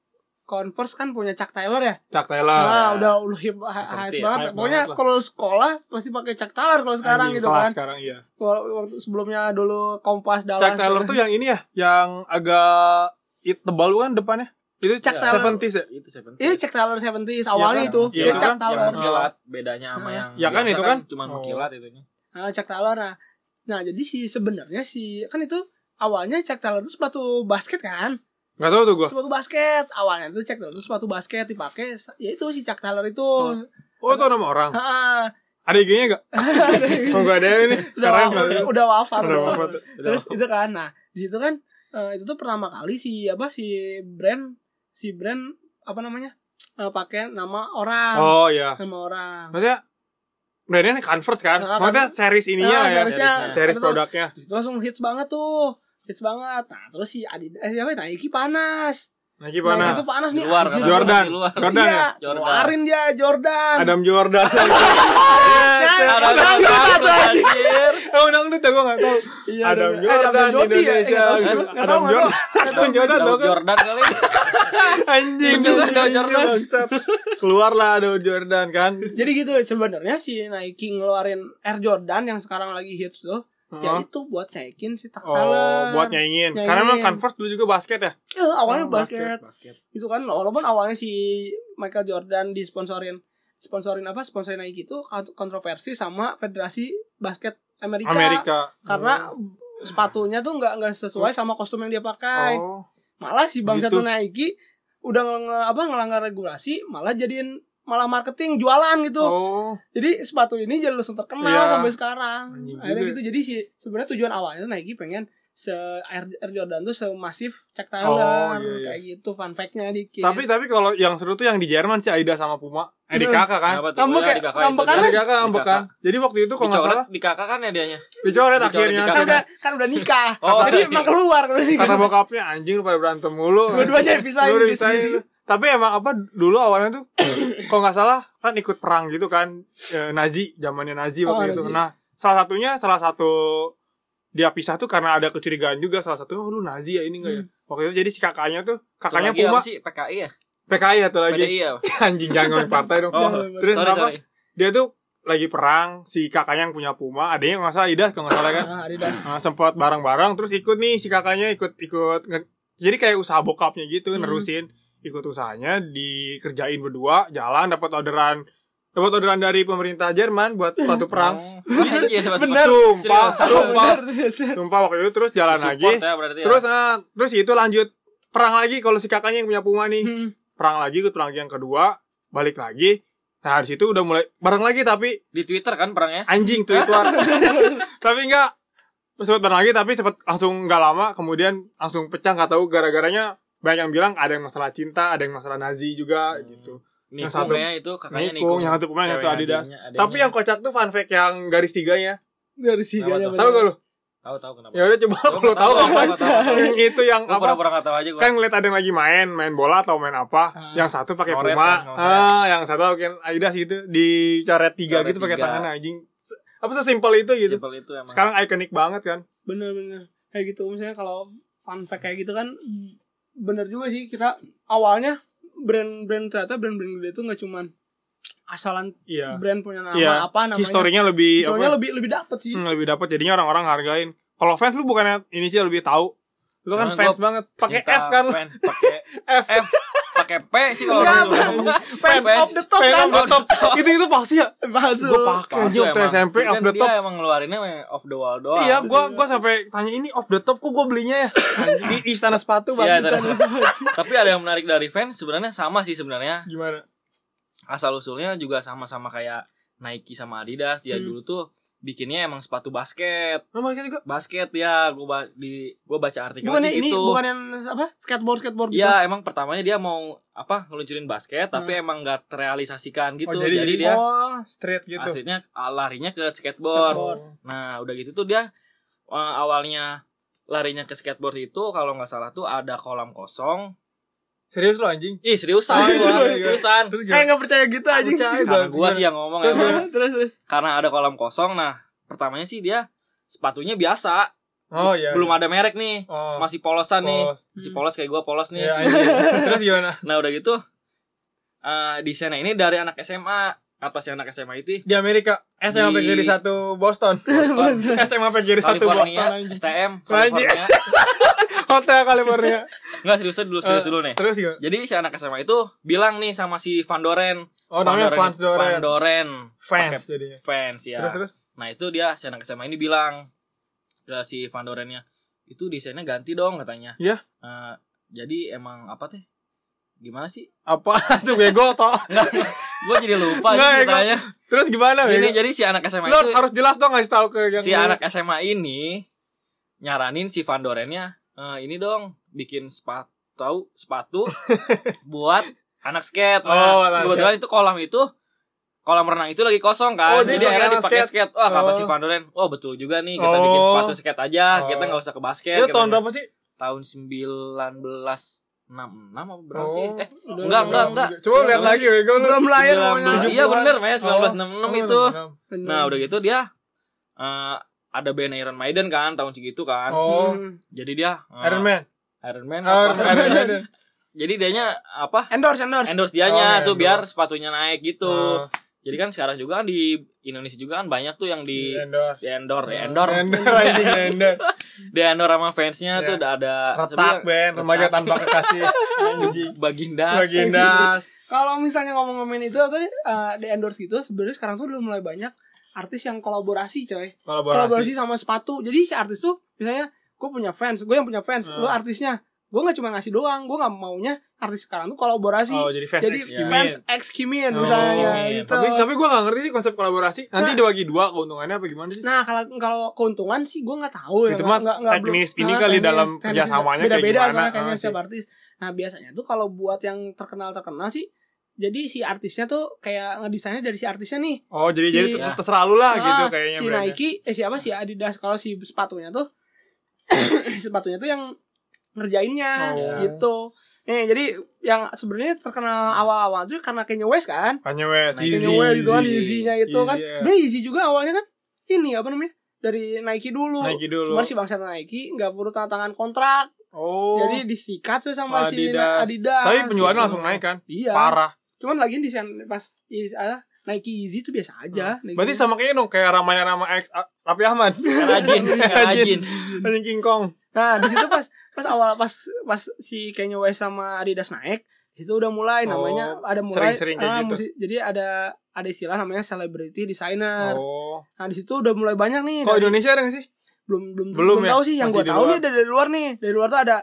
Speaker 1: Converse kan punya Chuck Taylor ya.
Speaker 3: Cak Taylor.
Speaker 1: Ah,
Speaker 2: ya.
Speaker 1: udah udah hip hype banget.
Speaker 3: iya.
Speaker 2: Seperti ya,
Speaker 1: Pokoknya
Speaker 3: hype banget lah.
Speaker 1: kalau sekolah pasti pakai Chuck Taylor kalau sekarang
Speaker 3: Anjing,
Speaker 1: gitu
Speaker 3: kelas
Speaker 1: kan.
Speaker 3: Sekarang iya.
Speaker 1: Kalau waktu sebelumnya dulu Kompas Dallas. gitu.
Speaker 3: Chuck Taylor
Speaker 1: kan.
Speaker 3: tuh yang ini ya, yang agak it, tebal bukan depannya. Itu
Speaker 1: Chuck
Speaker 3: Chuck
Speaker 1: Taylor.
Speaker 3: 70s ya.
Speaker 2: Itu seven.
Speaker 1: Iya Chuck Taylor 70s awalnya
Speaker 3: kan?
Speaker 1: itu.
Speaker 3: Iya
Speaker 1: Iya
Speaker 3: kan?
Speaker 1: Chuck Taylor.
Speaker 2: Yang mengkilat bedanya sama
Speaker 1: Ah.
Speaker 2: yang
Speaker 3: Ya kan,
Speaker 2: biasa
Speaker 3: itu kan?
Speaker 2: cuman
Speaker 3: Oh.
Speaker 2: mengkilat itunya.
Speaker 1: Nah, Chuck Taylor nah. Nah, jadi si sebenarnya si kan itu awalnya Chuck Taylor itu sepatu basket kan?
Speaker 3: Enggak tahu tuh gua.
Speaker 1: Sepatu basket. Awalnya itu Chuck Taylor itu sepatu basket dipakai ya itu si Chuck Taylor itu.
Speaker 3: Oh, itu nama orang.
Speaker 1: Heeh. <laughs>
Speaker 3: Ada IG-nya enggak? Oh, enggak ada ini.
Speaker 1: udah,
Speaker 3: Keren
Speaker 1: wa-
Speaker 3: banget.
Speaker 1: udah, udah wafat.
Speaker 3: Udah wafat.
Speaker 1: Terus itu kan nah, di situ kan eh, itu tuh pertama kali si apa si brand si brand apa namanya? Eh, pakai nama orang.
Speaker 3: Oh iya.
Speaker 1: Nama orang.
Speaker 3: Maksudnya brandnya Converse kan?
Speaker 1: Ah,
Speaker 3: Maksudnya series ininya lah
Speaker 1: Nah,
Speaker 3: ya.
Speaker 1: seharusnya
Speaker 2: seriesnya.
Speaker 3: Series
Speaker 1: itu tuh-
Speaker 3: produknya.
Speaker 1: Di situ langsung hits banget tuh. Hits banget. Nah, terus si Adidas eh, siapa ya? Nike panas.
Speaker 3: Nah,
Speaker 1: Nike
Speaker 3: gimana?
Speaker 1: itu panas
Speaker 2: Di
Speaker 1: nih.
Speaker 2: luar
Speaker 1: anjir.
Speaker 2: kan?
Speaker 3: Jordan.
Speaker 2: Di luar.
Speaker 3: Jordan
Speaker 1: iya,
Speaker 3: ya?
Speaker 2: Jordan.
Speaker 1: keluarin dia Jordan. Nah,
Speaker 3: Adam
Speaker 1: <laughs>
Speaker 3: Jordan.
Speaker 1: Jordan.
Speaker 3: Iya,
Speaker 2: Orang-orang baru, anjir.
Speaker 3: Eh, undang lu tuh gua enggak tahu.
Speaker 1: Iya,
Speaker 3: Adam
Speaker 1: Eh, Jordi ya?
Speaker 3: Jordan
Speaker 1: Eh,
Speaker 3: Indonesia.
Speaker 1: nggak tahu sih, nggak
Speaker 3: Adam
Speaker 1: tahu, nggak
Speaker 3: Jordan. <laughs> Adam Jordan tau
Speaker 2: Daud
Speaker 3: kan?
Speaker 2: Jordan kali.
Speaker 3: Anjing.
Speaker 2: Jordan,
Speaker 1: kan
Speaker 2: Daud
Speaker 3: anjing,
Speaker 2: Jordan.
Speaker 3: bangsat. Keluarlah Daud Jordan kan.
Speaker 1: Ya, tahu. Jadi gitu sebenarnya si Nike ngeluarin Air Jordan yang sekarang lagi hits tuh. ya
Speaker 3: Heeh.
Speaker 1: itu buat naikin si
Speaker 3: Oh,
Speaker 1: Taktaler
Speaker 3: buat nyaingin.
Speaker 1: Nyaingin.
Speaker 3: Karena memang Converse dulu juga basket ya.
Speaker 1: Eh, awalnya
Speaker 2: Oh,
Speaker 1: basket.
Speaker 2: basket.
Speaker 1: itu kan walaupun awalnya si Michael Jordan disponsorin sponsorin apa sponsorin Nike itu kont- kontroversi sama Federasi Basket Amerika,
Speaker 3: Amerika.
Speaker 1: Iya,
Speaker 3: Oh,
Speaker 1: karena sepatunya tuh nggak nggak sesuai sama kostum yang dia pakai
Speaker 3: Oh.
Speaker 1: malah si bang
Speaker 3: Gitu.
Speaker 1: satu Nike udah nge- apa ngelanggar regulasi malah jadiin malah marketing jualan gitu
Speaker 3: Oh.
Speaker 1: jadi sepatu ini jadi langsung terkenal
Speaker 3: Iya.
Speaker 1: sampai sekarang
Speaker 3: Anjing
Speaker 1: akhirnya
Speaker 3: juga. ya.
Speaker 1: gitu jadi sih sebenarnya tujuan awalnya tuh Nike pengen se Air, Air Jordan tuh semasif Chuck
Speaker 3: Oh,
Speaker 1: Taylor
Speaker 3: iya, iya.
Speaker 1: kayak gitu fun fact-nya dikit
Speaker 3: Tapi tapi kalau yang seru tuh yang di Jerman sih Aida sama Puma. Eh di
Speaker 1: Bener.
Speaker 3: kakak kan.
Speaker 2: Kenapa tuh?
Speaker 1: Kamu
Speaker 2: Oh, ya,
Speaker 1: kayak-
Speaker 2: di kakak
Speaker 1: kamu
Speaker 2: itu dia.
Speaker 1: kan?
Speaker 3: Di kakak
Speaker 2: Di
Speaker 3: ngambek kan. Jadi waktu itu kalau nggak
Speaker 2: Dicoret
Speaker 3: salah
Speaker 2: di kakak kan ya dianya.
Speaker 3: dicoret
Speaker 2: Dicoret
Speaker 3: akhirnya.
Speaker 2: di
Speaker 1: kan
Speaker 2: kakak.
Speaker 1: udah kan udah nikah
Speaker 2: Oh,
Speaker 1: jadi
Speaker 2: iya.
Speaker 1: emang keluar kalau udah nikah <laughs>
Speaker 3: Kata bokapnya anjing lu pada berantem mulu.
Speaker 1: dua-duanya dipisahin
Speaker 3: Lu udah
Speaker 1: di
Speaker 3: dipisahin
Speaker 1: sini.
Speaker 3: lu. Tapi emang apa dulu
Speaker 1: <coughs>
Speaker 3: awalnya tuh kalau nggak salah kan ikut perang gitu kan eh, Nazi zamannya Nazi
Speaker 1: Oh,
Speaker 3: waktu itu.
Speaker 1: Nazi.
Speaker 3: Nah salah satunya salah satu dia pisah tuh karena ada kecurigaan juga salah satunya oh, lu Nazi ya ini enggak ya.
Speaker 1: Hmm.
Speaker 3: Waktu itu jadi si kakaknya tuh kakaknya
Speaker 2: Satu lagi
Speaker 3: Puma
Speaker 2: apa sih PKI ya?
Speaker 3: PKI atau lagi
Speaker 2: PDI ya?
Speaker 3: <laughs> anjing jangan ngomongin partai
Speaker 1: <laughs>
Speaker 3: dong.
Speaker 2: Oh,
Speaker 3: Terus
Speaker 2: sorry,
Speaker 3: kenapa?
Speaker 2: sorry.
Speaker 3: Dia tuh lagi perang si kakaknya yang punya Puma adanya nggak salah Idah kalau nggak salah kan
Speaker 1: Ah, Adidas.
Speaker 3: Nah, sempat bareng-bareng terus ikut nih si kakaknya ikut-ikut nge- jadi kayak usaha bokapnya gitu
Speaker 1: Hmm.
Speaker 3: nerusin ikut usahanya dikerjain berdua jalan dapat orderan dapat orderan dari pemerintah Jerman buat satu
Speaker 2: <laughs>
Speaker 3: perang
Speaker 2: Oh, anjir, satu-
Speaker 1: Bener.
Speaker 3: sumpah
Speaker 2: Serius.
Speaker 1: <laughs>
Speaker 3: sumpah
Speaker 1: Bener.
Speaker 3: sumpah waktu itu terus jalan lagi
Speaker 2: Support ya, berarti ya.
Speaker 3: terus ah, terus itu lanjut perang lagi kalau si kakaknya yang punya Puma nih
Speaker 1: Hmm.
Speaker 3: perang lagi ikut perang yang kedua balik lagi nah di situ udah mulai bareng lagi tapi
Speaker 2: di Twitter kan perangnya?
Speaker 3: anjing
Speaker 2: <laughs>
Speaker 3: tuh itu tapi enggak sempat bareng lagi tapi cepet langsung nggak lama kemudian langsung pecah nggak tahu gara-garanya banyak yang bilang ada yang masalah cinta ada yang masalah nazi juga
Speaker 2: Hmm.
Speaker 3: gitu
Speaker 2: Nikung
Speaker 3: satu-
Speaker 2: ya itu kakaknya Nikung.
Speaker 3: nikung yang satu pemain yang satu
Speaker 2: Cewek
Speaker 3: adidas
Speaker 2: adiknya- adiknya.
Speaker 3: tapi yang kocak tuh fun fact yang garis tiganya
Speaker 1: dari sini
Speaker 2: Kenapa
Speaker 1: aja
Speaker 2: tuh?
Speaker 3: tahu gak lu
Speaker 2: tahu tahu kenapa?
Speaker 3: ya udah coba
Speaker 2: Gua
Speaker 3: kalau
Speaker 2: nggak
Speaker 3: tahu
Speaker 2: <laughs>
Speaker 3: apa
Speaker 2: gua nggak tahu, nggak tahu.
Speaker 3: yang itu yang
Speaker 2: Gua
Speaker 3: apa
Speaker 2: pura-pura nggak tahu aja gua.
Speaker 3: kan ngeliat ada yang lagi main main bola atau main apa
Speaker 1: Ah.
Speaker 3: yang satu pakai
Speaker 2: Coret
Speaker 3: puma
Speaker 2: kan, coret.
Speaker 3: ah yang satu pakai adidas gitu dicoret tiga
Speaker 2: Coret
Speaker 3: gitu pakai
Speaker 2: tiga.
Speaker 3: tangan anjing Se- apa sesimpel itu gitu
Speaker 2: Simpel itu emang.
Speaker 3: sekarang ikonik banget kan
Speaker 1: bener-bener kayak gitu misalnya kalau fun fact kayak gitu kan bener juga sih kita awalnya brand-brand ternyata brand-brand gede itu nggak cuman asalan
Speaker 3: iya
Speaker 1: brand punya nama
Speaker 3: Iya.
Speaker 1: apa namanya
Speaker 3: historinya lebih
Speaker 1: Historinya
Speaker 3: apa,
Speaker 1: lebih lebih dapet sih
Speaker 3: hmm, lebih dapat jadinya orang-orang hargain kalau fans lu bukannya ini sih lebih tahu lu kan
Speaker 2: Soalnya
Speaker 3: fans
Speaker 2: gua
Speaker 3: banget pakai
Speaker 2: Cinta
Speaker 3: F kan lu.
Speaker 2: fans, Eh, pakai
Speaker 3: F
Speaker 2: F pakai P sih kalau
Speaker 1: Enggak,
Speaker 2: orang
Speaker 1: Bang.
Speaker 2: Sunda.
Speaker 1: Fans of the top
Speaker 3: Fans
Speaker 1: kan
Speaker 3: of the top. itu itu pasti ya
Speaker 1: palsu
Speaker 3: gue pakai
Speaker 2: Palsu
Speaker 3: aja waktu
Speaker 2: emang.
Speaker 3: SMP
Speaker 2: Tapi
Speaker 3: off
Speaker 2: kan
Speaker 3: the
Speaker 2: dia
Speaker 3: top
Speaker 2: emang ngeluarinnya off the wall doang.
Speaker 3: iya gue gue sampai tanya ini off the top kok gue
Speaker 2: <laughs>
Speaker 3: belinya ya di istana sepatu kan?
Speaker 2: Iya,
Speaker 3: bang
Speaker 2: terus. <laughs> Tapi ada yang menarik dari fans sebenarnya sama sih sebenarnya.
Speaker 3: gimana
Speaker 2: Asal usulnya juga sama-sama kayak Nike sama Adidas. Dia
Speaker 1: Hmm.
Speaker 2: dulu tuh bikinnya emang sepatu basket.
Speaker 3: Nama kita juga
Speaker 2: Basket ya, gue ba di gua baca artikel
Speaker 1: bukan
Speaker 2: sih
Speaker 1: ini
Speaker 2: gitu.
Speaker 1: bukan yang apa skateboard skateboard gitu
Speaker 2: Iya, emang pertamanya dia mau apa ngeluncurin basket tapi emang nggak terrealisasikan gitu.
Speaker 3: Oh,
Speaker 2: jadi,
Speaker 3: jadi- jadi-
Speaker 2: dia
Speaker 1: oh
Speaker 3: straight gitu
Speaker 2: akhirnya ah, larinya ke skateboard.
Speaker 1: Skateboard.
Speaker 2: Nah, udah gitu tuh dia eh, awalnya larinya ke skateboard itu kalau nggak salah tuh ada kolam kosong.
Speaker 3: serius lo anjing
Speaker 2: Ih, seriusan.
Speaker 3: Serius,
Speaker 2: gua,
Speaker 3: serius.
Speaker 2: seriusan.
Speaker 3: terus
Speaker 1: kayak
Speaker 3: gimana
Speaker 1: nggak percaya gitu aja
Speaker 3: Percaya,
Speaker 1: sih.
Speaker 2: Karena
Speaker 3: Gimana?
Speaker 2: gua sih yang ngomong ya. Bang.
Speaker 1: terus terus
Speaker 2: Karena ada kolam kosong. Nah, pertamanya sih dia sepatunya biasa,
Speaker 3: oh iya
Speaker 2: Eh, belum ada merek nih.
Speaker 3: oh,
Speaker 2: Masih polosan nih.
Speaker 3: oh,
Speaker 1: Hmm.
Speaker 2: Masih polos kayak gua polos nih.
Speaker 3: iya, anjing. terus gimana
Speaker 2: <laughs> Nah, udah gitu eh desainnya ini dari anak SMA. Atasnya anak SMA itu
Speaker 3: di Amerika SMA
Speaker 2: Di-
Speaker 3: PGRI 1 Boston
Speaker 2: <laughs>
Speaker 3: <laughs>
Speaker 2: Boston,
Speaker 3: SMA PGRI 1 Boston
Speaker 2: California,
Speaker 3: anjing.
Speaker 2: STM,
Speaker 3: Anjing.
Speaker 2: California.
Speaker 3: Hotel California
Speaker 2: Enggak serius dulu, serius
Speaker 3: Eh,
Speaker 2: dulu nih.
Speaker 3: Terus gimana?
Speaker 2: Jadi si anak SMA itu bilang nih sama si Van Doren.
Speaker 3: Oh namanya
Speaker 2: Van
Speaker 3: Fans Doren
Speaker 2: Van Doren.
Speaker 3: Fans
Speaker 2: Pakai
Speaker 3: jadinya
Speaker 2: Fans ya.
Speaker 3: Terus terus
Speaker 2: Nah itu dia si anak SMA ini bilang ke si Van Dorennya. Itu desainnya ganti dong katanya.
Speaker 3: Iya.
Speaker 2: Eh, jadi emang apa teh? Gimana sih? <laughs>
Speaker 3: Apa <laughs> tuh bego toh
Speaker 2: Gue jadi lupa sih
Speaker 3: Nggak, ya,
Speaker 2: ceritanya.
Speaker 3: Terus gimana
Speaker 2: Ini
Speaker 3: bego?
Speaker 2: jadi si anak SMA
Speaker 3: Lo
Speaker 2: itu.
Speaker 3: harus jelas dong ngasih tahu ke yang
Speaker 2: Si anak SMA ini nyaranin si Van Dorennya. "Eh, ini dong bikin sepatu
Speaker 3: <laughs>
Speaker 2: sepatu buat anak skate.
Speaker 3: Oh,
Speaker 2: Nah,
Speaker 3: anak
Speaker 2: kebetulan itu kolam itu kolam renang itu lagi kosong kan.
Speaker 3: Oh, jadi
Speaker 2: jadi akhirnya
Speaker 3: pakai anak
Speaker 2: dipakai skate. Wah, apa
Speaker 3: Oh.
Speaker 2: sih Van Doren? Oh, betul juga nih. Kita bikin
Speaker 3: Oh.
Speaker 2: sepatu skate aja. Kita
Speaker 3: Oh.
Speaker 2: nggak usah ke basket.
Speaker 3: Itu tahun
Speaker 2: katanya.
Speaker 3: berapa sih?
Speaker 2: Tahun 1966 apa berapa sih?
Speaker 3: Oh. Ah,
Speaker 2: Eh, enggak, enggak, enggak.
Speaker 3: Coba lihat lagi bego lu
Speaker 1: belum lahir
Speaker 2: 19
Speaker 1: namanya.
Speaker 2: Iya bener, Mes.
Speaker 3: Oh.
Speaker 2: 1966 itu. Nah, udah
Speaker 1: Bener.
Speaker 2: gitu dia eh, ada band Iron Maiden kan tahun segitu kan.
Speaker 3: Oh
Speaker 1: Hmm.
Speaker 2: Jadi dia eh,
Speaker 3: Iron Man
Speaker 2: Iron Man
Speaker 3: Oh,
Speaker 2: apa?
Speaker 3: Iron Man
Speaker 2: <laughs> Jadi dianya apa?
Speaker 1: endorse endorse
Speaker 2: Endorse dianya
Speaker 3: Oh, endorse.
Speaker 2: tuh
Speaker 3: Oh, Ah.
Speaker 2: biar sepatunya naik gitu. Jadi kan sekarang juga kan di Indonesia juga kan banyak tuh yang di ya,
Speaker 3: Endor.
Speaker 2: di endorse, di
Speaker 3: Endor.
Speaker 2: endorse,
Speaker 3: anjing endor.
Speaker 2: di endorse sama fansnya
Speaker 3: Iya.
Speaker 2: tuh udah ada
Speaker 3: Retak Ben, remaja
Speaker 2: Retak.
Speaker 3: tanpa kekasih. Anjing.
Speaker 2: baginda.
Speaker 3: Bagindas.
Speaker 1: Kalau misalnya ngomong-ngomongin itu tadi eh, di endorse itu sebenarnya sekarang tuh udah mulai banyak artis yang kolaborasi coy.
Speaker 3: Kolaborasi.
Speaker 1: Kolaborasi sama sepatu. Jadi si artis tuh misalnya gue punya fans, gue yang punya fans,
Speaker 3: Hmm.
Speaker 1: lu artisnya. Gue nggak cuma ngasih doang, gue nggak maunya artis sekarang tuh kolaborasi.
Speaker 3: Oh, jadi fans.
Speaker 1: Jadi
Speaker 2: X-Kimin.
Speaker 1: fans iya. ex Kimin
Speaker 3: Oh,
Speaker 1: misalnya
Speaker 2: X-Kimin.
Speaker 1: gitu.
Speaker 3: Tapi tapi gue gak ngerti sih konsep kolaborasi. Nanti
Speaker 1: Nah.
Speaker 3: dibagi dua keuntungannya apa gimana sih?
Speaker 1: Nah kalau kalau keuntungan sih gue nggak tahu ya, nggak-
Speaker 3: Itu mah
Speaker 1: nggak- nggak
Speaker 3: teknis.
Speaker 1: belum-
Speaker 3: Ini
Speaker 1: Nah,
Speaker 3: kali
Speaker 1: teknis,
Speaker 3: dalam
Speaker 1: teknis.
Speaker 3: kerjasamanya kayak
Speaker 1: beda-beda
Speaker 3: gimana.
Speaker 1: soalnya kayaknya
Speaker 3: Ah,
Speaker 1: setiap artis. Nah biasanya tuh kalau buat yang terkenal terkenal sih, jadi si artisnya tuh kayak ngedesainnya dari si artisnya nih.
Speaker 3: Oh, jadi jadi
Speaker 1: Si-
Speaker 3: ter- terserah lu lah gitu
Speaker 1: Ah,
Speaker 3: kayaknya.
Speaker 1: Si
Speaker 3: brandnya.
Speaker 1: Nike, eh siapa si Adidas kalau si sepatunya tuh, <coughs> sepatunya tuh yang ngerjainnya
Speaker 3: Oh.
Speaker 1: gitu. Nih jadi yang sebenarnya terkenal awal-awal tuh karena Kanye West kan.
Speaker 3: Kanye West,
Speaker 2: Nike.
Speaker 1: Kanye
Speaker 3: Yeezy.
Speaker 1: West gitu kan
Speaker 2: Yeezy.
Speaker 1: Yeezy-nya itu kan.
Speaker 3: Yeezy, ya.
Speaker 1: Sebenarnya Yeezy juga awalnya kan ini apa namanya? Dari Nike dulu.
Speaker 3: Nike dulu.
Speaker 1: Cuma si bangsa Nike nggak perlu tanda tangan kontrak.
Speaker 3: Oh.
Speaker 1: Jadi disikat tuh sama si
Speaker 3: Adidas.
Speaker 1: Adidas.
Speaker 3: tapi penjualannya
Speaker 1: gitu.
Speaker 3: langsung naik kan?
Speaker 1: Iya.
Speaker 3: Parah.
Speaker 1: Cuman lagi desain pas Yeezy ah, Nike Yeezy itu biasa aja. Nike
Speaker 3: Hmm. Berarti sama kayaknya dong kayak ramanya rama X Raffi
Speaker 1: <laughs>
Speaker 3: Ahmad.
Speaker 2: <laughs> Rajin, rajin.
Speaker 3: Anjing King Kong.
Speaker 1: Nah, di situ pas pas awal pas pas si Kanye West sama Adidas naik, di situ udah mulai
Speaker 3: Oh,
Speaker 1: namanya ada mulai
Speaker 3: sering-sering kayak
Speaker 1: ah,
Speaker 3: gitu.
Speaker 1: musi- jadi ada ada istilah namanya celebrity designer.
Speaker 3: Oh.
Speaker 1: Nah, di situ udah mulai banyak nih.
Speaker 3: Kalau
Speaker 1: dari-
Speaker 3: Indonesia ada gak sih?
Speaker 1: belum belum
Speaker 3: Belum
Speaker 1: belum,
Speaker 3: ya?
Speaker 1: tahu sih yang
Speaker 3: Masih
Speaker 1: gue
Speaker 3: di
Speaker 1: tahu
Speaker 3: luar.
Speaker 1: nih dari, dari luar nih dari luar tuh ada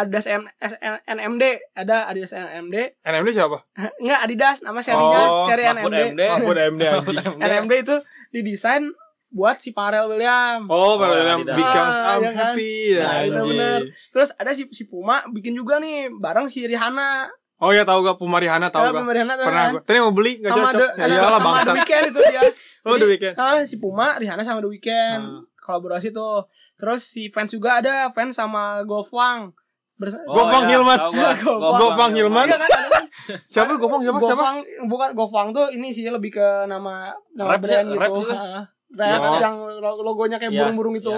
Speaker 1: Adidas M, S, N- NMD ada Adidas <laughs> NMD
Speaker 3: NMD siapa?
Speaker 1: enggak Adidas nama serinya
Speaker 3: Oh,
Speaker 1: seri
Speaker 2: Mahfud
Speaker 1: NMD
Speaker 2: MD.
Speaker 3: Mahfud MD
Speaker 2: Mahfud
Speaker 1: <laughs>
Speaker 3: anjing.
Speaker 2: MD.
Speaker 1: NMD itu didesain buat si Pharrell Williams
Speaker 3: Oh, kalau
Speaker 2: Oh,
Speaker 3: yang
Speaker 2: Adidas.
Speaker 3: becomes
Speaker 1: Ah,
Speaker 3: I'm
Speaker 1: iya kan?
Speaker 3: happy
Speaker 2: Nah,
Speaker 3: ya,
Speaker 1: benar-benar.
Speaker 3: anjing.
Speaker 1: terus ada si si Puma bikin juga nih bareng si Rihanna
Speaker 3: Oh ya tahu gak Pumarihana tahu
Speaker 1: kalau
Speaker 3: gak?
Speaker 1: Rihanna tuh
Speaker 3: Pernah
Speaker 1: kan
Speaker 3: gua. Tadi mau beli gak
Speaker 1: sama
Speaker 3: cocok.
Speaker 1: The,
Speaker 3: Ya
Speaker 1: ada-
Speaker 3: iyalah
Speaker 1: sama
Speaker 3: bangsa.
Speaker 1: The Weeknd itu
Speaker 3: <laughs>
Speaker 1: dia
Speaker 3: Oh, The
Speaker 1: Jadi,
Speaker 3: Weeknd.
Speaker 1: ah, si Puma Rihanna sama The Weeknd
Speaker 3: Hmm.
Speaker 1: kolaborasi tuh terus si fans juga ada fans sama Gofang Bersa-
Speaker 2: Oh,
Speaker 3: Gopang
Speaker 2: ya,
Speaker 3: Hilman.
Speaker 2: tahu gua.
Speaker 3: Gopang Hilman.
Speaker 1: Iya kan, ada kan?
Speaker 3: Siapa Gopang siapa siapa?
Speaker 1: Gofang bukan Gofang tuh ini sih lebih ke nama nama
Speaker 2: Rap
Speaker 1: brand
Speaker 2: ya,
Speaker 1: gitu.
Speaker 2: rap juga.
Speaker 1: <laughs> Heeh. Rap
Speaker 3: Oh.
Speaker 1: yang lo- logonya kayak
Speaker 2: Iya,
Speaker 1: burung-burung itu.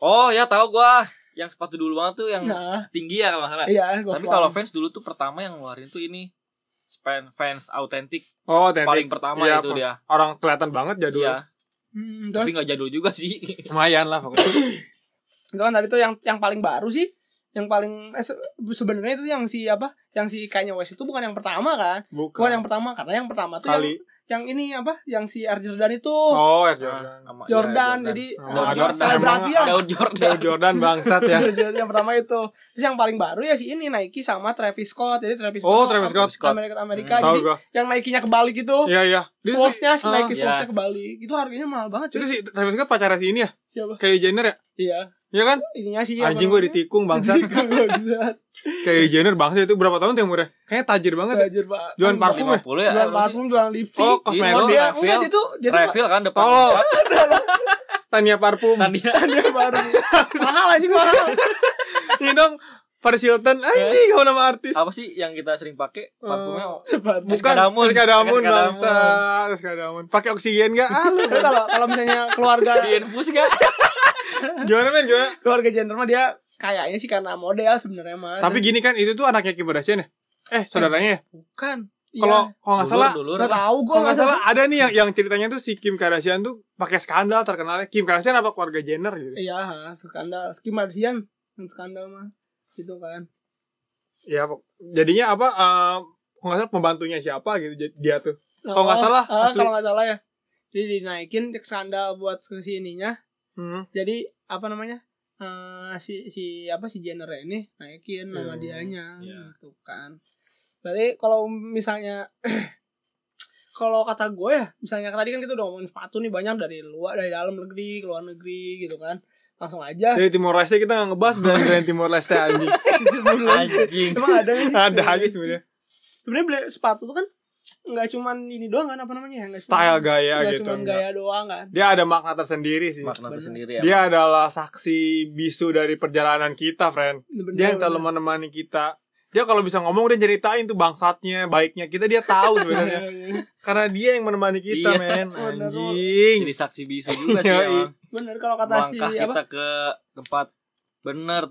Speaker 2: Oh, ya tahu gua. Yang sepatu dulu banget tuh yang
Speaker 1: Nah,
Speaker 2: tinggi ya kalau nggak salah.
Speaker 1: iya Gofang.
Speaker 2: Iya. Tapi kalau fans dulu tuh pertama yang ngeluarin tuh ini fans fans autentik
Speaker 3: Oh, Tentik.
Speaker 2: paling pertama
Speaker 3: Iya,
Speaker 2: itu
Speaker 3: apa?
Speaker 2: dia.
Speaker 3: Orang kelihatan banget jadul.
Speaker 2: Iya.
Speaker 1: Hmm, terus
Speaker 2: Tapi nggak jadul juga
Speaker 1: <laughs>
Speaker 2: sih.
Speaker 3: Lumayan lah pokoknya.
Speaker 1: itu kan tadi tuh yang yang paling baru sih yang paling eh, se- sebenarnya itu yang si apa yang si Kanye West itu bukan yang pertama kan bukan
Speaker 3: Bukan.
Speaker 1: yang pertama karena yang pertama tuh
Speaker 3: Kali.
Speaker 1: yang yang ini apa yang si Air Jordan itu
Speaker 3: Oh, Air
Speaker 2: Nah,
Speaker 3: Jordan.
Speaker 2: sama- iya,
Speaker 1: Jordan, jadi
Speaker 3: Oh,
Speaker 1: eh,
Speaker 2: Jordan.
Speaker 1: selebriti lah.
Speaker 2: Daud
Speaker 3: Air
Speaker 1: Ah.
Speaker 2: Jordan.
Speaker 3: Jordan bangsat
Speaker 1: <laughs>
Speaker 3: ya.
Speaker 1: Jadi yang pertama itu terus yang paling baru ya si ini Nike sama Travis Scott jadi Travis
Speaker 3: Oh,
Speaker 1: Scott
Speaker 3: Travis Scott.
Speaker 1: Amerika Amerika
Speaker 2: Hmm,
Speaker 3: Tahu
Speaker 1: jadi
Speaker 3: gua.
Speaker 1: yang Nike-nya kebalik itu
Speaker 3: Iya, iya. Dia sih-
Speaker 1: Swoosh-nya si
Speaker 3: ah.
Speaker 1: Nike
Speaker 2: Iya.
Speaker 1: Swoosh-nya kebalik itu harganya mahal banget
Speaker 3: Itu
Speaker 1: cuy
Speaker 3: si Travis Scott pacarnya si ini ya,
Speaker 1: siapa
Speaker 3: kayak Jenner ya?
Speaker 1: iya
Speaker 3: Iya kan?
Speaker 1: ininya sih
Speaker 3: Anjing gue ditikung
Speaker 1: <laughs>
Speaker 3: bangsat.
Speaker 1: bangsat
Speaker 3: Kayak Jenner bangsat itu berapa tahun tuh yang murah? Kayaknya tajir banget. ya.
Speaker 1: belajar pak
Speaker 3: Jualan
Speaker 1: Kan
Speaker 3: parfum ya?
Speaker 2: 50 ya.
Speaker 1: jualan
Speaker 2: apa sih?
Speaker 1: parfum jualan lipstick
Speaker 3: Oh, kosmetik.
Speaker 2: Iya, lo
Speaker 1: dia
Speaker 2: refill.
Speaker 1: enggak dia tuh dia tuh
Speaker 2: refill kan depan.
Speaker 3: Tolol. Tania parfum.
Speaker 2: Kan
Speaker 3: <laughs>
Speaker 2: dia
Speaker 1: <laughs> dia baru mahal anjing mahal
Speaker 3: Ini dong Paris Hilton. Anjing
Speaker 1: Eh.
Speaker 3: kau nama artis.
Speaker 2: apa sih yang kita sering pakai parfumnya?
Speaker 1: cepat
Speaker 3: Bukan
Speaker 2: Eskadamun.
Speaker 3: Eskadamun
Speaker 2: Eskadamun.
Speaker 3: bangsa. Eskadamun. Pakai oksigen
Speaker 1: <laughs>
Speaker 3: enggak? Ah, lu.
Speaker 1: Terus kalau kalau misalnya
Speaker 3: <laughs>
Speaker 1: keluarga
Speaker 3: Iya.
Speaker 2: Diinfus gak?
Speaker 3: Gimana men? Gimana?
Speaker 1: keluarga gender mah dia kayaknya sih karena model sebenarnya mah
Speaker 3: Tapi gini kan itu tuh anaknya Kim Kardashian ya? Eh, saudaranya ya?
Speaker 1: bukan
Speaker 3: Kalau kalau nggak salah
Speaker 2: Dulur,
Speaker 1: Iya. nggak tahu gue
Speaker 3: kalau nggak salah ada nih yang yang ceritanya tuh si Kim Kardashian tuh pakai skandal terkenalnya Kim Kardashian apa keluarga Jenner gitu
Speaker 1: Iya, ha, skandal. Kim Kardashian yang skandal mah. Gitu kan.
Speaker 3: ya pok- jadinya apa eh, kalau nggak salah pembantunya siapa gitu jadi- dia tuh Kalau nggak
Speaker 1: Oh,
Speaker 3: salah,
Speaker 1: ah,
Speaker 3: asli.
Speaker 1: kalau nggak salah ya. Jadi dinaikin ke skandal buat ke sininya. Jadi apa namanya? eh, si si apa si Jenner ini naikin nama
Speaker 3: Iya.
Speaker 1: dianya
Speaker 2: Iya.
Speaker 1: gitu kan. Berarti kalau misalnya <clears throat> kalau kata gue ya, misalnya tadi kan kita udah ngomongin sepatu nih banyak dari luar dari dalam negeri, ke luar negeri gitu kan. Langsung aja.
Speaker 3: dari Timor Leste kita nggak ngebahas
Speaker 1: <laughs>
Speaker 3: brand brand Timor Leste anjing
Speaker 2: Anjing.
Speaker 1: Emang ada nggak sih?
Speaker 3: ada aja sebenarnya
Speaker 1: sebenarnya beli sepatu tuh kan nggak cuman ini doang kan apa namanya ya nggak
Speaker 3: style
Speaker 1: cuman-
Speaker 3: gaya
Speaker 1: nggak
Speaker 3: gitu
Speaker 1: cuman gaya doang kan
Speaker 3: dia ada makna tersendiri sih
Speaker 2: Makna
Speaker 1: Bener.
Speaker 2: tersendiri ya.
Speaker 3: dia adalah saksi bisu dari perjalanan kita friend
Speaker 1: Bener-bener.
Speaker 3: dia yang selalu menemani kita dia kalau bisa ngomong dia ceritain tuh bangsatnya baiknya kita dia tahu sebenarnya karena dia yang menemani kita
Speaker 2: Iya.
Speaker 3: men
Speaker 1: Bener.
Speaker 3: anjing
Speaker 2: Jadi saksi bisu juga sih.
Speaker 3: Yoi.
Speaker 2: emang.
Speaker 1: <laughs> bener kalau kata si
Speaker 3: gitu.
Speaker 2: Langkah
Speaker 1: apa
Speaker 2: kita ke tempat bener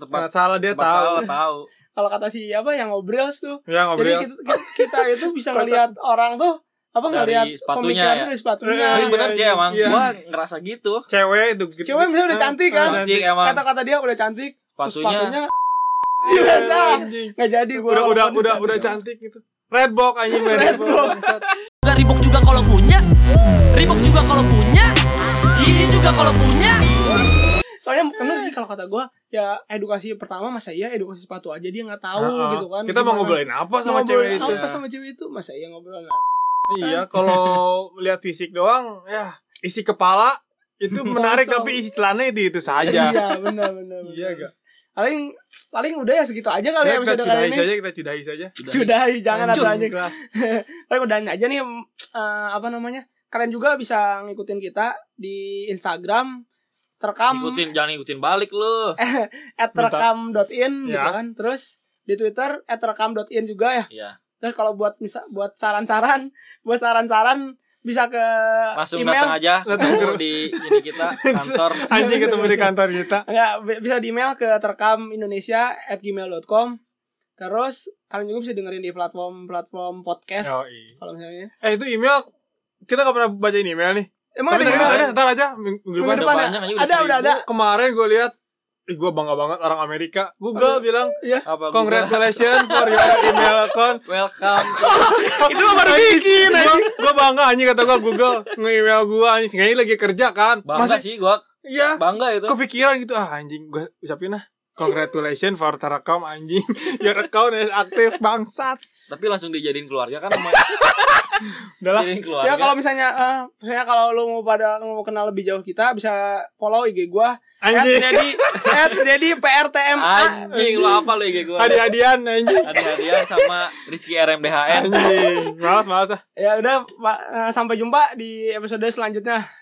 Speaker 3: Nggak
Speaker 2: tempat
Speaker 3: salah dia
Speaker 2: tempat
Speaker 3: tahu. Iya,
Speaker 2: salah tahu.
Speaker 1: kalau kata si apa yang ngobrol tuh
Speaker 3: Ya
Speaker 1: jadi gitu.
Speaker 3: ngobrol. <laughs>
Speaker 1: kita, kita- kita itu bisa ngelihat orang tuh apa nggak
Speaker 2: Dari
Speaker 1: lihat
Speaker 2: sepatunya
Speaker 1: pemikirannya
Speaker 2: ya?
Speaker 1: dari sepatunya
Speaker 3: Iya,
Speaker 2: Tapi bener
Speaker 3: iya,
Speaker 2: sih
Speaker 3: iya.
Speaker 2: emang
Speaker 3: Iya.
Speaker 2: gua ngerasa gitu.
Speaker 3: Cewek itu gitu.
Speaker 1: cewek misalnya udah cantik kan
Speaker 3: Udah
Speaker 2: Cantik emang.
Speaker 1: kata-kata dia udah cantik terus
Speaker 2: Sepatunya
Speaker 1: <laughs> biasa
Speaker 3: Anjing.
Speaker 1: nggak jadi gua
Speaker 3: Eh, Udah udah udah udah cantik gitu. Redbox anjing main Redbox.
Speaker 4: Gak ribok juga kalau punya Ribok juga kalau punya Easy juga kalau punya
Speaker 1: soalnya bener sih kalau kata gua ya edukasi pertama masa iya edukasi sepatu aja dia nggak tahu
Speaker 3: Heeh.
Speaker 1: gitu kan
Speaker 3: Ah, Eh, Kita mau
Speaker 1: Gimana?
Speaker 3: ngobrolin apa sama
Speaker 1: Ngobrolin
Speaker 3: cewek itu?
Speaker 1: apa sama cewek itu masa iya ngobrol
Speaker 3: Iya,
Speaker 1: <laughs>
Speaker 3: kalau lihat fisik doang ya isi kepala itu menarik
Speaker 1: Kosong.
Speaker 3: tapi isi celana itu itu saja.
Speaker 1: iya benar benar benar.
Speaker 3: Iya, gak?
Speaker 1: paling paling udah ya segitu aja kali ya
Speaker 3: Kita
Speaker 1: episode kali
Speaker 3: cudahi
Speaker 1: ini
Speaker 3: saja, kita cudahi saja.
Speaker 1: sudah jangan
Speaker 3: Hancur.
Speaker 1: ada aja paling udahin aja nih em, eh, apa namanya kalian juga bisa ngikutin kita di Instagram terekam
Speaker 2: ikutin jangan ikutin balik lu.
Speaker 1: Eh. at terekam.in gitu
Speaker 3: Ya.
Speaker 1: kan terus di Twitter at terekam.in juga ya
Speaker 2: Iya.
Speaker 1: terus kalau buat misa, buat saran-saran <laughs> buat saran-saran bisa ke
Speaker 2: Langsung datang
Speaker 1: email
Speaker 2: aja
Speaker 3: Datang
Speaker 2: ketemu di ini kita kantor.
Speaker 3: <laughs> Anjing ketemu di kantor kita.
Speaker 1: Enggak, Ya, bi- bisa di email ke terekamindonesia@gmail.com terus kalian juga bisa dengerin di platform-platform podcast
Speaker 3: Yoi.
Speaker 1: kalau misalnya
Speaker 3: Eh itu email kita gak pernah bacain email nih.
Speaker 1: emang
Speaker 3: Tapi
Speaker 1: ada
Speaker 3: tapi
Speaker 1: email?
Speaker 3: ntar, ntar aja minggu Oh, iya. minggu
Speaker 1: Minggu
Speaker 3: depan.
Speaker 1: depan
Speaker 2: banyak aja,
Speaker 1: ada
Speaker 2: udah
Speaker 1: ada udah ada
Speaker 3: Gua kemarin gue lihat Ih gue bangga banget orang Amerika Google bilang
Speaker 2: Apa gua-
Speaker 3: Congratulations for your email account
Speaker 2: Welcome.
Speaker 3: <laughs> Itu lo baru bikin Gue bangga anjing kata gue Google Nge-email gue anjing Kayaknya lagi kerja kan
Speaker 2: Bangga sih gua,
Speaker 3: Iya
Speaker 2: bangga itu.
Speaker 3: Kepikiran gitu Ah anjing gue ucapin ah Congratulations for terekam anjing <laughs> Your account is active bangsat
Speaker 2: Tapi langsung dijadiin keluarga
Speaker 3: <laughs>
Speaker 2: kan sama
Speaker 3: Udah lah
Speaker 2: dijadiin
Speaker 1: ya
Speaker 2: keluarga.
Speaker 1: kalau misalnya eh, misalnya kalau lu mau pada mau kenal lebih jauh kita bisa follow IG gua
Speaker 3: Anjing
Speaker 1: jadi jadi PRTM
Speaker 2: Anjing lu apa lu IG gua?
Speaker 3: Hadiah-hadian anjing
Speaker 2: Hadiah-hadiah sama Rizky RMDHN.
Speaker 3: Anjing Males males ah
Speaker 1: ya udah Pak, eh, sampai jumpa di episode selanjutnya